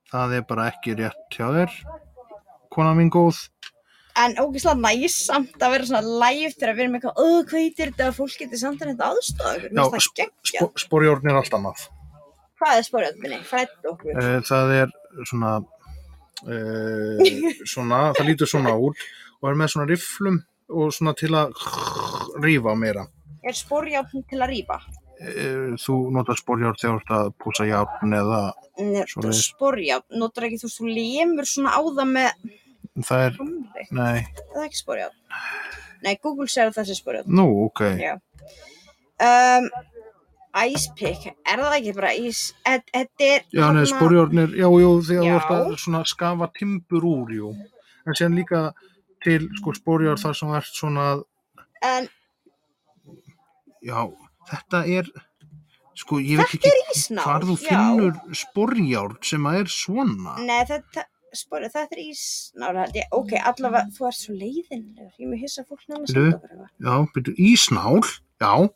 Speaker 1: Það er bara ekki rétt hjá þér, kona mín góð.
Speaker 2: En ógeðslega næs samt að vera svona live þegar við erum eitthvað, öð, hvað heitir þetta að fólk getur samt að þetta aðstofa
Speaker 1: Já,
Speaker 2: ykkur? Já,
Speaker 1: Spo, sporjárn er allt annað.
Speaker 2: Hvað er spórjöldminni? Frætt okkur.
Speaker 1: Eh, Það er svona, eh, svona, það lítur svona út og er með svona rifflum og svona til að rífa meira.
Speaker 2: Er spórjöldin til að rýpa?
Speaker 1: Eh, Þú notar sporjárn þegar þú ert að púsa járn eða Svoleiðis.
Speaker 2: Spórjöld, notar ekki þú veist, þú lemur svona á það með
Speaker 1: það er,
Speaker 2: rúmri.
Speaker 1: nei,
Speaker 2: Það er ekki spórjöld. Nei, Google sér að þessi spórjöld.
Speaker 1: nú, ok.
Speaker 2: Já. Um, ice pick, er það ekki bara ís? Þetta- Þetta er...
Speaker 1: Já, neður
Speaker 2: þarna-
Speaker 1: sporjárnir, já, jú, því að þú
Speaker 2: Hérna- Já.
Speaker 1: ert að svona skafa timbur úr, jú. En séðan líka til, sko, sporjár þar sem þú ert svona, að-
Speaker 2: En
Speaker 1: já, þetta er, sko, ég veit ekki
Speaker 2: ísnál,
Speaker 1: hvar þú
Speaker 2: já.
Speaker 1: finnur sporjár sem að er svona.
Speaker 2: Nei, þetta, spora, þetta er ís nála held ég, ok, allavega, þú ert svo leiðinlegur ég er mjög hissa að fólk nefn að
Speaker 1: Heyrðu.
Speaker 2: senda okkur eitthvað
Speaker 1: Já, byrju, ísnál. Já,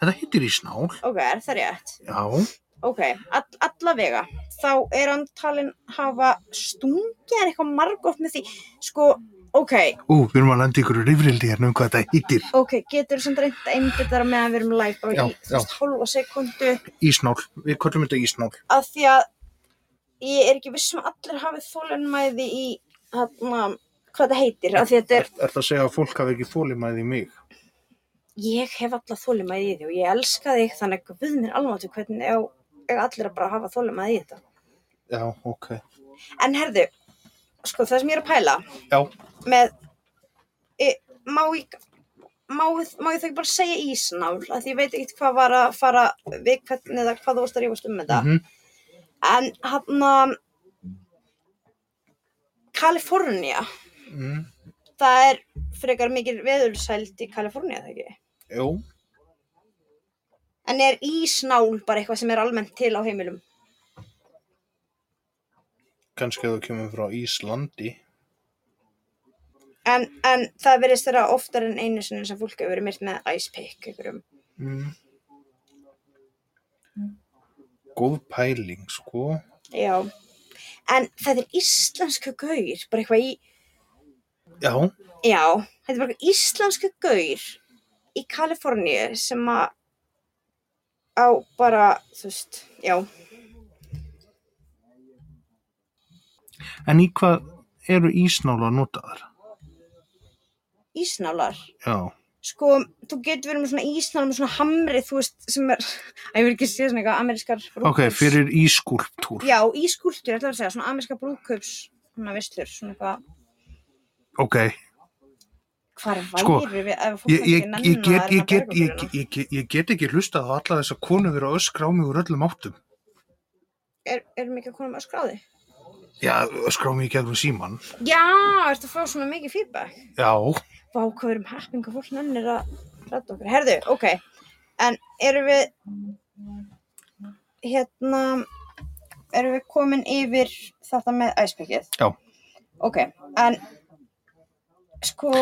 Speaker 1: þetta hittir ísnál.
Speaker 2: ok, er það rétt?
Speaker 1: Já,
Speaker 2: ok, all, allavega þá er hann talin hafa stungið hann eitthvað margótt með því sko, ok,
Speaker 1: ú, við erum að landa ykkur rifrildi hérna um hvað þetta hittir.
Speaker 2: ok getur þú samt reynd að einbytta þar meðan við erum live bara
Speaker 1: Já,
Speaker 2: í, þú veist, hálfa sekundu
Speaker 1: Ísnál, við köllum þetta ísnál.
Speaker 2: að því að ég er ekki vissum að allir hafi þólenmæði í hana, hvað þetta heitir, að því að þetta
Speaker 1: Er,
Speaker 2: er
Speaker 1: er það að segja að fólk hafi ekki fólimæði í mig?
Speaker 2: ég hef alla þólenmæði í því og ég elska þig þannig að við mér alveg hvernig ég, ég allir að bara hafa þólenmæði í þetta
Speaker 1: Já, ok.
Speaker 2: en herðu, sko það sem ég er að pæla
Speaker 1: Já,
Speaker 2: með e, má ég má, má ég þau ekki bara segja ísnál að því ég veit ekkert hvað var að fara við hvernig eða hvað þú varst að rífast um þetta
Speaker 1: mhm.
Speaker 2: en hann Kalifornía
Speaker 1: Mm,
Speaker 2: það er frekar mikil veðursæld í Kalifornía það ekki
Speaker 1: jú,
Speaker 2: en er ísnál bara eitthvað sem er almennt til á heimilum
Speaker 1: kannski að þú kemur frá Íslandi.
Speaker 2: en, en það verðist þeirra oftar en einu sinni sem fólk hefur verið myrt með ice pick einhverjum.
Speaker 1: Mm. Góð pæling, sko.
Speaker 2: já en það er íslensku gaur bara eitthvað í
Speaker 1: Já,
Speaker 2: Já, þetta er bara eitthvað íslensku gaur í Kaliforníu sem að á bara, þú veist, já,
Speaker 1: en í hvað eru ísnálar notaðar?
Speaker 2: ísnálar.
Speaker 1: Já,
Speaker 2: Sko, þú getur verið með svona ísnálar með svona hamri, þú veist, sem er, [laughs] að ég vil ekki segja svona eitthvað amerískar
Speaker 1: ok,
Speaker 2: brúðkaups-
Speaker 1: fyrir ískúlptúr.
Speaker 2: Já, ískúltur, ég ætla að segja, svona amerískar brúðkaups, svona visslur, svona eitthvað,
Speaker 1: Ok,
Speaker 2: hvað er væri
Speaker 1: Sko,
Speaker 2: við ef fólk
Speaker 1: ég,
Speaker 2: er
Speaker 1: ég,
Speaker 2: ekki nennan
Speaker 1: ég,
Speaker 2: að
Speaker 1: get,
Speaker 2: erna
Speaker 1: ég, get, ég,
Speaker 2: bergöngulina?
Speaker 1: get- ég, get, ég get ekki hlustað á alla þess að konu vera að öskra á mig úr öllum áttum.
Speaker 2: Er, erum ekki að koma með skráði?
Speaker 1: Já, öskra á mig í gegnum síman.
Speaker 2: Já, ertu að fá svona mikið feedback?
Speaker 1: Já,
Speaker 2: Vá, hvað við erum hepping og fólk nennir að rætta okkur. Herðu, ok. En erum við, hérna, erum við komin yfir þetta með æspekkið?
Speaker 1: Já.
Speaker 2: Ok, en, sko,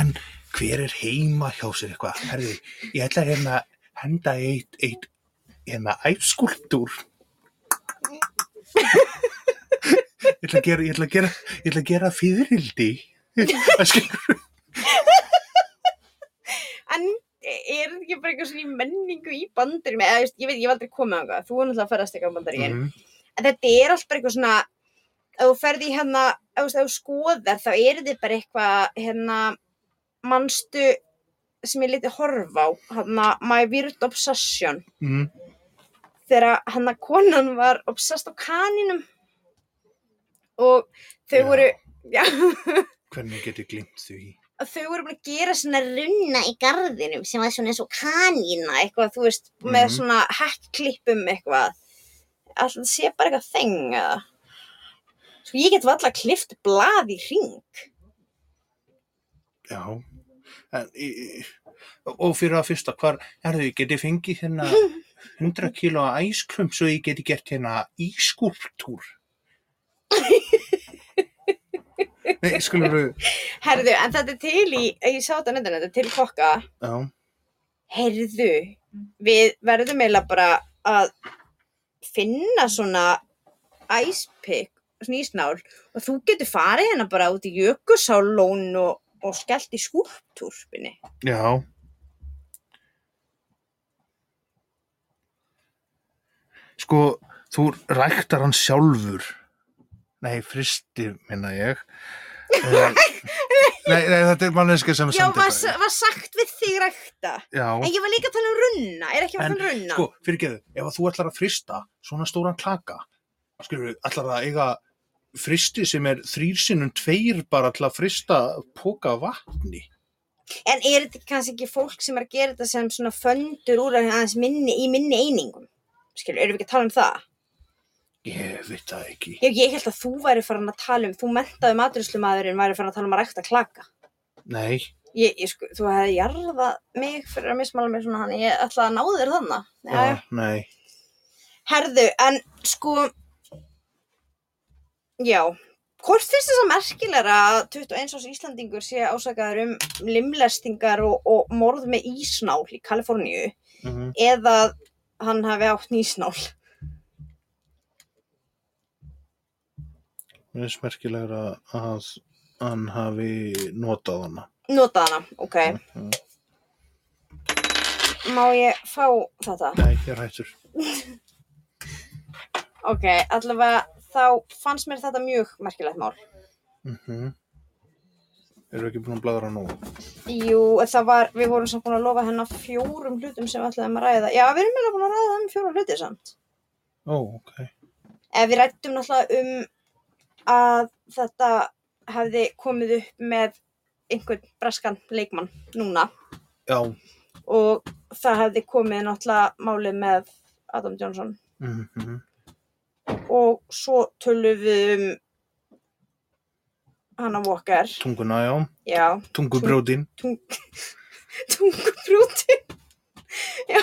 Speaker 1: en hver er heima hjá sér eitthvað? Herði, ég ætla hérna að henda í eitt, eitt hérna æfskúlptúr. ég ætla að gera, ég ætla að gera, ég ætla að gera fyririldi.
Speaker 2: en er þetta ekki bara eitthvað svona í menningu í bandaríum? Eða, veist, ég veit, ég hef aldrei komið á það. Þú er náttúrulega að ferðast eitthvað á bandaríum.
Speaker 1: Mhm.
Speaker 2: En þetta er alltaf bara eitthvað svona, ef þú ferði hérna, ef þú- ef þú skoðar, þá er þetta bara eitthvað, hérna, manstu sem ég liti horfa á, hérna, My Weird Obsession,
Speaker 1: Mhm.
Speaker 2: þegar hann að konan var obsessed á kaninum og þau
Speaker 1: Já.
Speaker 2: voru, já,
Speaker 1: Hvernig get ég glimt því?
Speaker 2: þau voru búin að gera svona runna í garðinum sem var svona eins og kanína, eitthvað, þú veist, með
Speaker 1: Mhm.
Speaker 2: svona hackklippum eitthvað. Alltaf það sé bara eitthvað þeng eða. Sko ég get valla klift blað í ring.
Speaker 1: Já, en, í, í- og fyrir að fyrsta, hvar, herðu, ég geti fengið hérna 100 kilo af æsklum svo ég geti gert hérna ískúlptúr. Nei, skulum við,
Speaker 2: Herðu, en þetta er til í, ég sá þetta nefndin, þetta er til kokka.
Speaker 1: já,
Speaker 2: Herðu, við verðum eiginlega bara að finna svona ice pick, svona ísnál og þú getur farið hérna bara út í jökusálón og, og skellt í skúptúrpinni.
Speaker 1: já, sko, þú ræktar hann sjálfur, nei, fristi, minna ég, Eh, nei, nei, þetta er manneska sem
Speaker 2: Já,
Speaker 1: sendi
Speaker 2: var,
Speaker 1: þetta.
Speaker 2: var sagt við þig rækta.
Speaker 1: Já,
Speaker 2: En ég var líka að tala um runna, er ekki að
Speaker 1: En,
Speaker 2: tala um runna?
Speaker 1: sko, fyrirgeðu, ef að þú ætlar að frista svona stóran klaka, skilur við, ætlar að eiga fristi sem er þrýrsinnum tveir bara til að frista póka af vatni.
Speaker 2: En er þetta kannski ekki fólk sem er að gera þetta sem svona föndur úr aðeins minni, í minni einingum? Skilur, erum við ekki að tala um það?
Speaker 1: Ég veit það ekki.
Speaker 2: Ég, ég held að þú væri farin að tala um, þú mentaði maturislumadurinn væri farin að tala um að rækta klaka.
Speaker 1: Nei,
Speaker 2: Ég, ég sko, þú hefði jarðað mig fyrir að mismála mig svona hann, ég ætla að náðu þér þannig. Já.
Speaker 1: já, nei.
Speaker 2: Herðu, en sko, já, Hvort finnst þess að merkilegra að 21 árs Íslandingur sé ásakaður um limlestingar og, og morð með ísnál í Kaliforníu
Speaker 1: Mhm.
Speaker 2: eða að hann hafi átt nýsnál?
Speaker 1: Mér finnst merkilegra að hann hafi notað hana.
Speaker 2: Nota hana, ok.
Speaker 1: Mhm.
Speaker 2: Má ég fá þetta?
Speaker 1: Nei, ég er hættur.
Speaker 2: Ok, allavega þá fannst mér þetta mjög merkilegt mál.
Speaker 1: Mm Erum við ekki búin að bladra nú?
Speaker 2: Jú, en það var, við vorum samt búin að lofa hennar fjórum hlutum sem við ætlaðum að ræða. Já, við erum meðlega búin að ræða um fjóra hluti samt.
Speaker 1: Ó, ok.
Speaker 2: Ef við rættum náttúrulega um að þetta hefði komið upp með einhvern braskan leikmann núna
Speaker 1: Já.
Speaker 2: og það hefði komið náttúrulega málið með Adam Johnson
Speaker 1: Mm
Speaker 2: og svo tölum við um Hanna Walker,
Speaker 1: Tunguna, já.
Speaker 2: já,
Speaker 1: Tungubrjóðin.
Speaker 2: tung, tungubrúti. [laughs] já,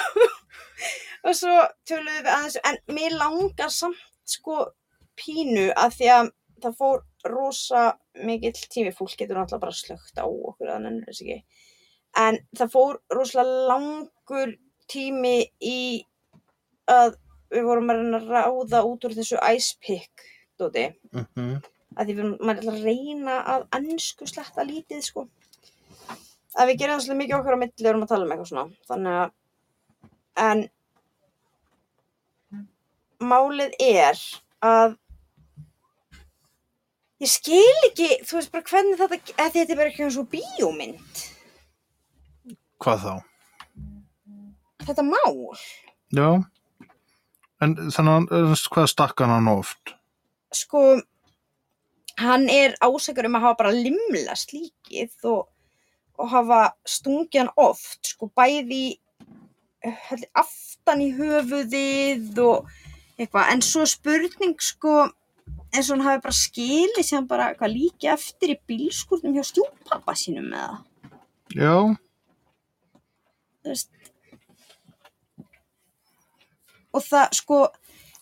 Speaker 2: og svo tölum við aðeins, en mér langar samt sko pínu að því að það fór rosa mikill tími, fólk getur náttúrulega bara slögt á okkur, það nennir þess ekki. En það fór rosalega langur tími í að við vorum að reyna að ráða út úr þessu ice pick, Dóti
Speaker 1: Mm -hmm.
Speaker 2: að því við, maður ætla að reyna að ennsku sletta lítið sko að við gerum það svolítið mikið okkur á milli og erum að tala um eitthvað svona þannig að en málið er að ég skil ekki þú veist bara hvernig þetta að þetta er bara ekki eins og bíómynd
Speaker 1: Hvað þá?
Speaker 2: þetta mál
Speaker 1: Já. En þannig að hvað stakkan hann oft?
Speaker 2: sko hann er ásakur um að hafa bara limlast líkið og, og hafa stungið hann oft sko bæði í- held- aftan í höfuðið og eitthvað en svo er spurning sko eins og hann hafi bara skilið sem bara hvað, líki eftir í bílskúrnum hjá stjúpappa sínum með það
Speaker 1: Já.
Speaker 2: Þú veist. og það sko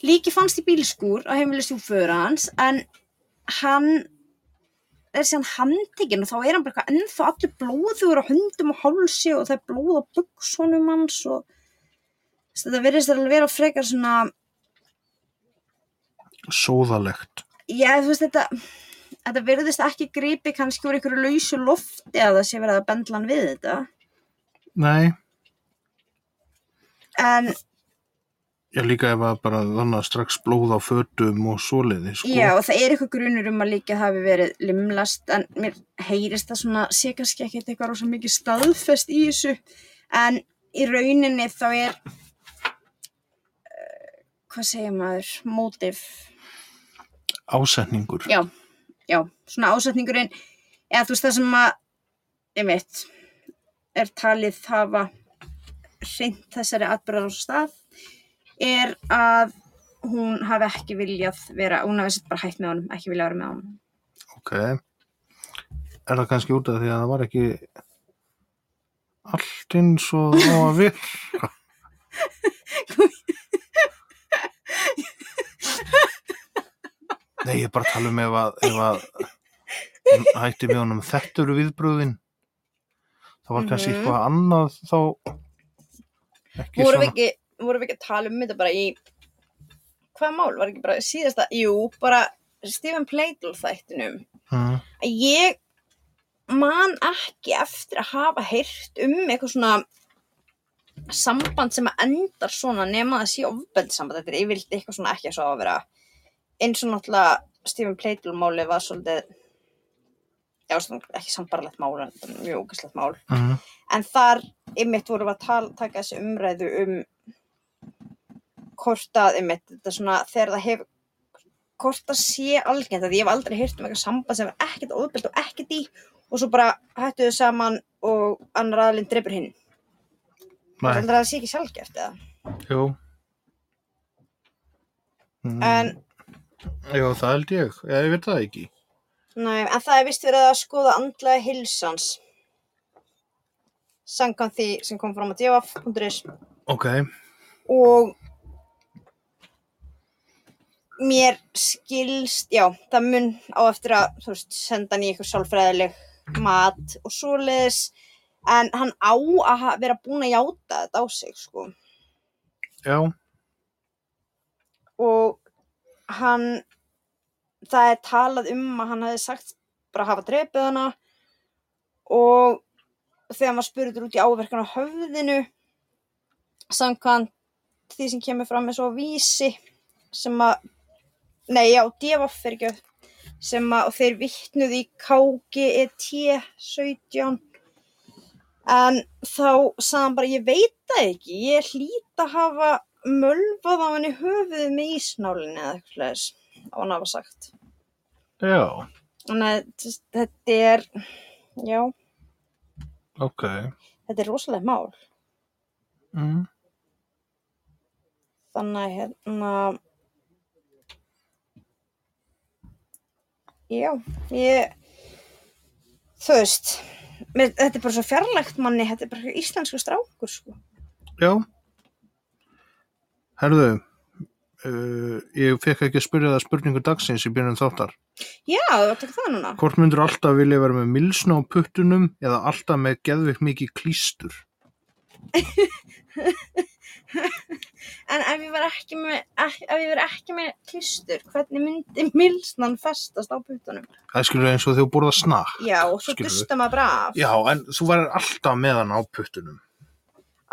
Speaker 2: líki fannst í bílskúr á heimilis stjúföður hans en hann er síðan handtekinn og þá er hann bara eitthvað ennþá allir blóður á hundum og hálsi og það er blóð á buksonum hans og þú veist, þetta verðist alveg vera frekar svona
Speaker 1: Sóðalegt.
Speaker 2: já þú veist þetta þetta verðist ekki gripi kannski úr einhverju lausu lofti að það sé verið að bendla hann við þetta
Speaker 1: Nei.
Speaker 2: en
Speaker 1: Já, líka ef að bara þannig að strax blóð á fötum og svoleiði, sko.
Speaker 2: Já, og það er eitthvað grunur um að líka hafi verið limlast, en mér heyrist það svona, sé kannski ekkert eitthvað rosa mikið staðfest í þessu, en í rauninni þá er, uh, hvað segir maður, mótif,
Speaker 1: Ásetningur.
Speaker 2: já, já, svona ásetningurinn, eða þú veist það sem að, ég veit, er talið hafa hreint þessari atbyrðar á stað, er að hún hafi ekki viljað vera, hún hafi sett bara hætt með honum, ekki viljað vera með honum.
Speaker 1: Ok. Er það kannski út af því að það var ekki allt eins og það var við? Nei, ég er bara að tala um ef að, ef að hún hætti með honum þetta eru viðbröðin. Það var kannski
Speaker 2: Mhm.
Speaker 1: eitthvað annað þá ekki
Speaker 2: vorum við,
Speaker 1: svona.
Speaker 2: ekki, vorum við ekki að tala um þetta bara í hvaða mál var ekki bara síðasta jú, bara Stephen Platel þættinum
Speaker 1: Mhm.
Speaker 2: Að ég man ekki eftir að hafa heyrt um eitthvað svona samband sem að endar svona nema að sé ofbeldi samband þetta er yfirleitt eitthvað svona ekki að svo á að vera eins og náttúrulega Stephen Platel máli var svolítið já, svona ekki sambarlegt mál en þetta er mjög ógæslegt mál
Speaker 1: Mhm.
Speaker 2: en þar ymmit vorum við að tala, taka þessi umræðu um hvort að ymmit, þetta er svona þegar það hefur hvort að sé algengt að ég hef aldrei heyrt um eitthvað samband sem er ekkert óðbelt og ekkert í og svo bara hættu þau saman og annar aðlinn dreipur hinn
Speaker 1: Nei,
Speaker 2: þannig að það sé ekki sjálfgeft eða
Speaker 1: jú. Mm.
Speaker 2: en,
Speaker 1: Jú, það held ég. Já, ég veit það ekki.
Speaker 2: nei, en það er vist verið að skoða andlega hilsans sangan því sem kom fram á djafaf.is
Speaker 1: Ok.
Speaker 2: og mér skilst, já, það mun á eftir að, þú veist, senda hann í eitthvað sálfræðileg mat og svoleiðis, en hann á að ha- vera búin að játa þetta á sig, sko.
Speaker 1: já,
Speaker 2: Og hann, það er talað um að hann hefði sagt bara að hafa drepið hana og þegar maður spurður út í áverkan á höfðinu, samkvæmt því sem kemur fram með svo vísi sem að, nei já, devaff er ekki sem að og þeir vittnuð í E KGET 17 en þá sagðan bara ég veit það ekki, ég hlýt að hafa mölvað á henni höfuðið með ísnálinni eða eitthvað leðis á hann hafa sagt
Speaker 1: já,
Speaker 2: þannig að þú veist, þetta er já,
Speaker 1: ok.
Speaker 2: þetta er rosalega mál
Speaker 1: Mm.
Speaker 2: þannig að hérna já, ég þú veist mér, þetta er bara svo fjarlægt manni þetta er bara íslensku strákur sko
Speaker 1: Já. Herðu, uh, ég fekk ekki að spyrja það spurningu dagsins í byrjun þáttar.
Speaker 2: já, þú var að taka það núna
Speaker 1: Hvort myndur alltaf vilja vera með milsna á puttunum eða alltaf með geðvikt mikið klístur?
Speaker 2: en ef ég var ekki með, ek, ef ég var ekki með klistur, hvernig myndi milsnan festast á putunum
Speaker 1: Það skilur eins og þegar þú borða snakk.
Speaker 2: já, og svo
Speaker 1: Skilurðu?
Speaker 2: dusta maður bara af
Speaker 1: Já, en þú verður alltaf með hann á puttunum.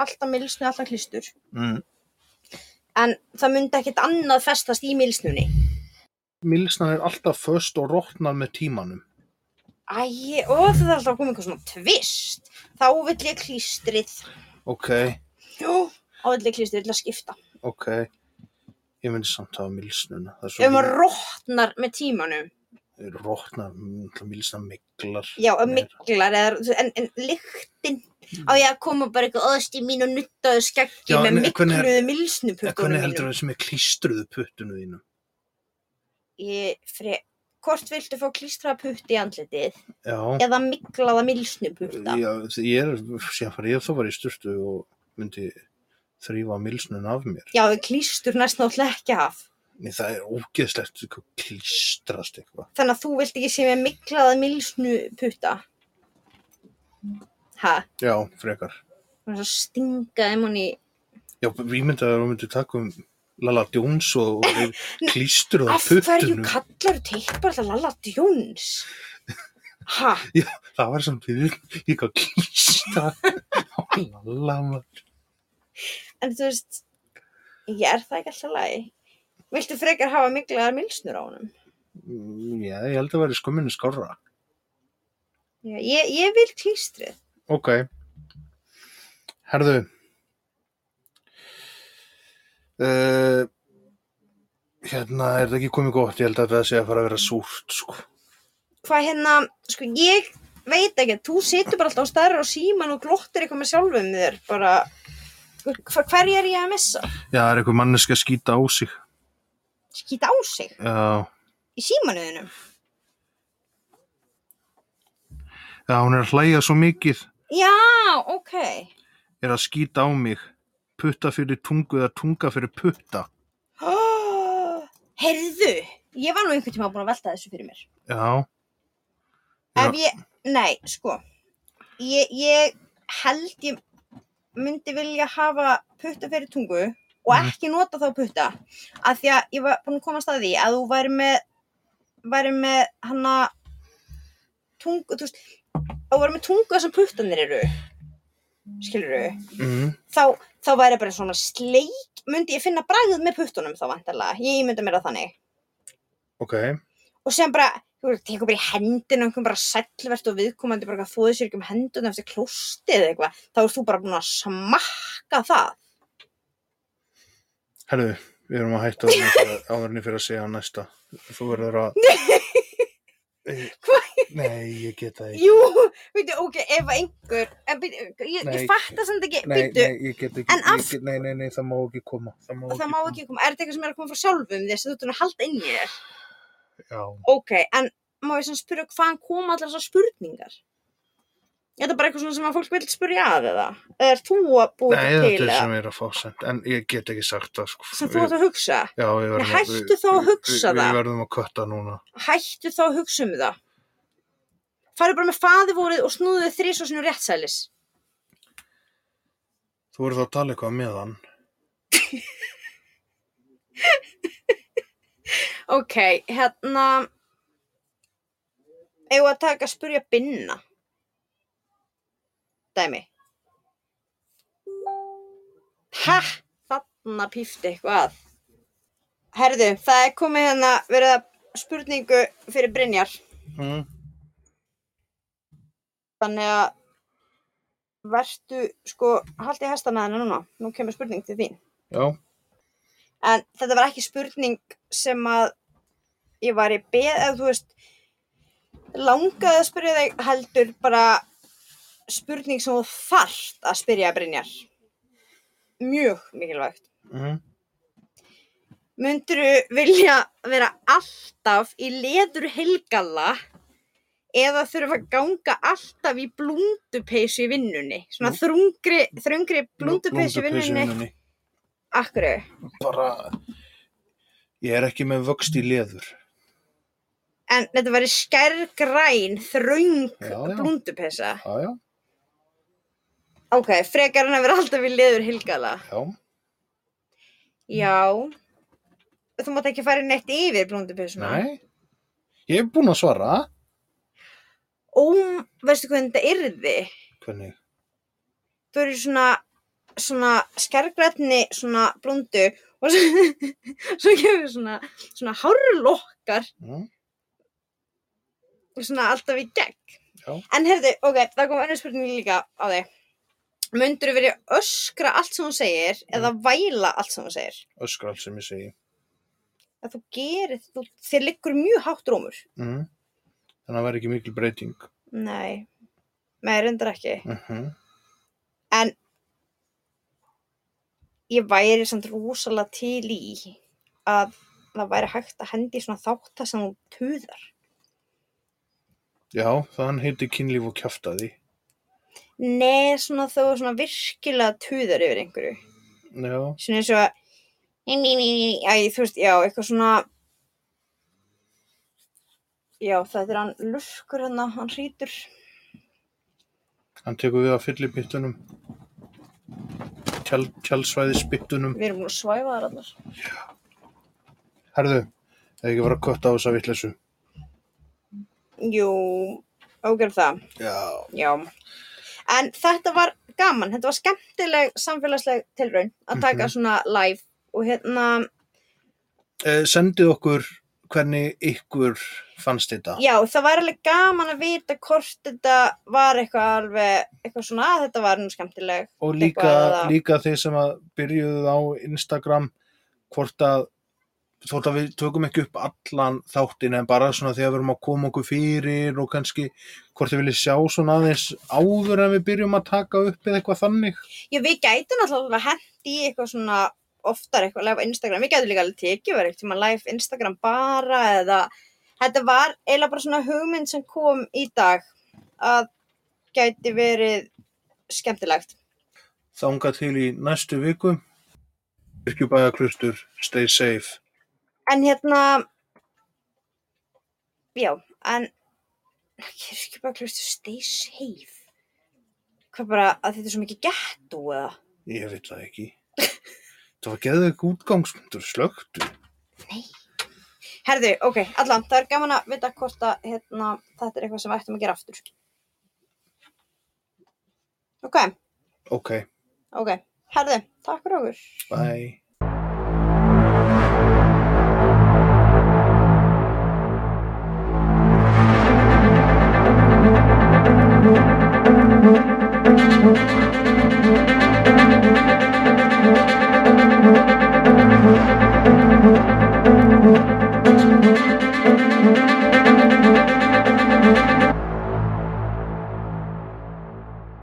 Speaker 2: alltaf milsnu, alltaf klistur
Speaker 1: Mm.
Speaker 2: en það myndi ekkit annað festast í milsnunni
Speaker 1: Milsna er alltaf föst og rótnar með tímanum.
Speaker 2: Æ, og það er alltaf komið eitthvað svona tvist. Þá vill ég klístrið.
Speaker 1: Ok,
Speaker 2: Jú. Þá vill ég klístrið, vill að skipta.
Speaker 1: ok. Ég myndi samt hafa milsnuna. Það er
Speaker 2: Ef
Speaker 1: svo
Speaker 2: maður rótnar með tímanum.
Speaker 1: um, rótnar, milsna miklar.
Speaker 2: Já, ef
Speaker 1: meira.
Speaker 2: miklar, eða, en, en lyktin á ég að koma bara eitthvað öðst í mín og nuttaðu skeggi
Speaker 1: Hmm. Já,
Speaker 2: með
Speaker 1: en hvernig-
Speaker 2: mikluðu
Speaker 1: En hvernig
Speaker 2: milsnupukunum
Speaker 1: heldur
Speaker 2: mínum.
Speaker 1: það sem er klístruðu puttunu þínu?
Speaker 2: Ég, fre, hvort viltu fá klístraða putt í andlitið
Speaker 1: Já,
Speaker 2: eða miklaða milsnuputta?
Speaker 1: já því ég er, síðan fara ég þá var í sturtu og myndi þrýfa milsnun af mér.
Speaker 2: Já, við klístur næst náttúrulega ekki af.
Speaker 1: Nei, það er ógeðslegt hvað klístrast eitthvað.
Speaker 2: Þannig að þú vilt ekki sé með miklaða milsnuputta. Hæ?
Speaker 1: Já, frekar.
Speaker 2: Það var svo stingað um hún í...
Speaker 1: Já, við myndi að þú myndi taka um Lala Djóns og klístruðu
Speaker 2: [laughs] Af
Speaker 1: af
Speaker 2: hverju
Speaker 1: puttunum.
Speaker 2: kallar þú teipar alltaf Lalla Djóns? Ha,
Speaker 1: Það var samt við líka klístra á Lala. maður.
Speaker 2: en þú veist, ég er það ekki alltaf lagi. Viltu frekar hafa miklaðar milsnur á honum?
Speaker 1: Mm, Já, ég held að vera skömminu skárra.
Speaker 2: Já, ég, ég vil klístrið.
Speaker 1: Ok. Herðu. Uh, hérna er það ekki komið gott, ég held að það sé að fara að vera súrt, sko.
Speaker 2: Hvað hérna, sko ég veit ekki, þú situr bara alltaf á stærra og síman og glottir eitthvað með sjálfum þér, bara, hva, hver er ég að missa?
Speaker 1: Já, það er eitthvað manneski að skýta á sig.
Speaker 2: Skýta á sig
Speaker 1: Já,
Speaker 2: í símanuðinum.
Speaker 1: já, hún er að hlæja svo mikið,
Speaker 2: Já, ok.
Speaker 1: er að skýta á mig. Putta fyrir tungu eða tunga fyrir putta.
Speaker 2: [gasps] Heyrðu, ég var nú einhvern tíma búin að velta þessu fyrir mér.
Speaker 1: Já, Já.
Speaker 2: Ef ég, nei, sko, ég, ég held ég myndi vilja hafa putta fyrir tungu og
Speaker 1: Mhm.
Speaker 2: ekki nota þá putta af því að ég var búin að koma að staði að þú væri með, væri með hana tungu, þú veist, að þú væri með tungu þessum puttanir eru, skilur
Speaker 1: mm,
Speaker 2: þá, þá væri bara svona sleik, myndi ég finna bragð með puttunum þá vantarlega, ég myndi mér það þannig
Speaker 1: ok.
Speaker 2: og sem bara, þú veist, tekur bara í hendina einhvern bara sællvert og viðkomandi bara eitthvað þóðu sér ekki um hendun eftir klósti eða eitthvað, þá ert þú bara búin að smakka það.
Speaker 1: Herðu, við erum að hætta áður en ég fer- áður en ég fyrir að segja næsta. Þú verður að...
Speaker 2: Hvað?
Speaker 1: Nei, ég geta ekki.
Speaker 2: Jú, veitu, ok, ef einhver, en byrju, ég,
Speaker 1: Nei.
Speaker 2: ég fatta sem þetta ekki,
Speaker 1: Nei,
Speaker 2: byrju,
Speaker 1: nei, ég get ekki,
Speaker 2: En
Speaker 1: ég
Speaker 2: af-
Speaker 1: get, nei, nei, nei, það má ekki koma. Það má
Speaker 2: það má ekki koma, er þetta eitthvað sem er að koma frá sjálfum þess að þú ert búin að halda inn í þér?
Speaker 1: Já,
Speaker 2: Ok, en má ég sem spyrja hvaðan koma allar þessar spurningar? Þetta er bara eitthvað svona sem að fólk vil spyrja að eða? Eða er þú að búa
Speaker 1: Nei,
Speaker 2: þetta
Speaker 1: þetta
Speaker 2: til
Speaker 1: er
Speaker 2: eða?
Speaker 1: sem ég er að fá sent, en ég get ekki sagt það, sko.
Speaker 2: Sem þú ert að hugsa?
Speaker 1: Já, við verðum
Speaker 2: Nei, hættu þá að
Speaker 1: við-
Speaker 2: hugsa
Speaker 1: við,
Speaker 2: það.
Speaker 1: Við verðum að kötta núna.
Speaker 2: Hættu þá að hugsa um það. Farðu bara með faðivorið og snúðu þið þrís og sinu réttsælis.
Speaker 1: Þú verður þá að tala eitthvað með hann.
Speaker 2: Ok, hérna... Eigum við að taka að spurja binna? Dæmi. Hæ? Þarna pífti eitthvað. að. Herðu, það er komið hérna verið að spurningu fyrir Brynjar.
Speaker 1: Mm.
Speaker 2: Þannig að vertu, sko, haldið hestana þennan núna. Nú kemur spurning til þín.
Speaker 1: Já,
Speaker 2: En þetta var ekki spurning sem að ég var í beð, eða þú veist, langaði að spyrja þig heldur bara spurning sem þú þarft að spyrja Brynjar. Mjög mikilvægt.
Speaker 1: mm.
Speaker 2: Munduru vilja vera alltaf í leður helgalla eða þurfa að ganga alltaf í blúndupeysu í vinnunni? Svona
Speaker 1: Nú.
Speaker 2: þrungri, þrungri blúndupeysu í vinnunni. Akkur,
Speaker 1: Bara, ég er ekki með vöxt í leður.
Speaker 2: en þetta væri skærgræn, þröng
Speaker 1: Já, já.
Speaker 2: blúndupeysa.
Speaker 1: Já, já,
Speaker 2: Ok, frekar hann að vera alltaf í leður helgalla.
Speaker 1: já.
Speaker 2: Já. Þú mátt ekki fara neitt yfir blúndupeysuna.
Speaker 1: Nei, ég er búin að svara.
Speaker 2: Ó, veistu hvernig þetta yrði?
Speaker 1: Hvernig?
Speaker 2: þú eru svona svona skergrætni svona blundu og svo, [laughs] svo kemur svona svona hárlokkar
Speaker 1: Mm.
Speaker 2: og svona alltaf í gegn
Speaker 1: Já.
Speaker 2: en heyrðu, ok, það kom önnur spurning líka á þig Mundur verið öskra allt sem hún segir eða
Speaker 1: Mm.
Speaker 2: væla allt sem hún segir
Speaker 1: Öskra allt sem ég segi.
Speaker 2: að þú gerir, þú, þér liggur mjög hátt rómur
Speaker 1: Mm. Þannig að það verði ekki mikil breyting.
Speaker 2: Nei, með reyndar ekki
Speaker 1: Mm
Speaker 2: en ég væri samt rosalega til í að það væri hægt að hendi í svona þáttar sem hún tuðar.
Speaker 1: Já, þann heiti kynlíf og kjaftaði.
Speaker 2: Nei, svona þó svona virkilega tuðar yfir einhverju.
Speaker 1: Já,
Speaker 2: Svona eins og að, ný, ný, ný, ný, æ, þú veist, já, eitthvað svona, já, þetta er hann lurkur hann, hann hrítur.
Speaker 1: hann tekur við að fyllir byttunum. Tjál, tjálsvæðis byttunum.
Speaker 2: Við erum búin að svæfa þar allar.
Speaker 1: Herðu, það er ekki að vera að kötta á þessa vitleysu.
Speaker 2: Jú, ágjör það,
Speaker 1: Já.
Speaker 2: já. En þetta var gaman, þetta var skemmtileg samfélagsleg tilraun að taka
Speaker 1: Mhm.
Speaker 2: svona live og hérna,
Speaker 1: Eh, sendið okkur hvernig ykkur fannst þetta.
Speaker 2: já, það var alveg gaman að vita hvort þetta var eitthvað alveg, eitthvað svona að þetta var nú skemmtileg.
Speaker 1: og líka,
Speaker 2: eitthvað að-
Speaker 1: líka þeir sem að byrjuðu á Instagram hvort að þótt að við tökum ekki upp allan þáttin en bara svona þegar við erum að koma okkur fyrir og kannski hvort þið viljið sjá svona aðeins áður en við byrjum að taka upp eða eitthvað þannig
Speaker 2: Já, við gætum alltaf alveg hent í eitthvað svona oftar eitthvað live á Instagram, við gætum líka alveg tekið verið eitthvað live Instagram bara eða þetta var eiginlega bara svona hugmynd sem kom í dag að gæti verið skemmtilegt.
Speaker 1: þánga til í næstu viku Yrkjubæðaklustur, stay safe
Speaker 2: En hérna, já, en kirkjubæklaustur stay safe. Hvað bara, að þetta er svo mikið gettú eða?
Speaker 1: ég veit það ekki það var geðið ekki útgangsmyndur slögtu
Speaker 2: Herðu, ok, allan, það er gaman að vita hvort að hérna, þetta er eitthvað sem við ættum að gera aftur. Ok,
Speaker 1: ok,
Speaker 2: ok, herðu, takk fyrir okkur.
Speaker 1: bye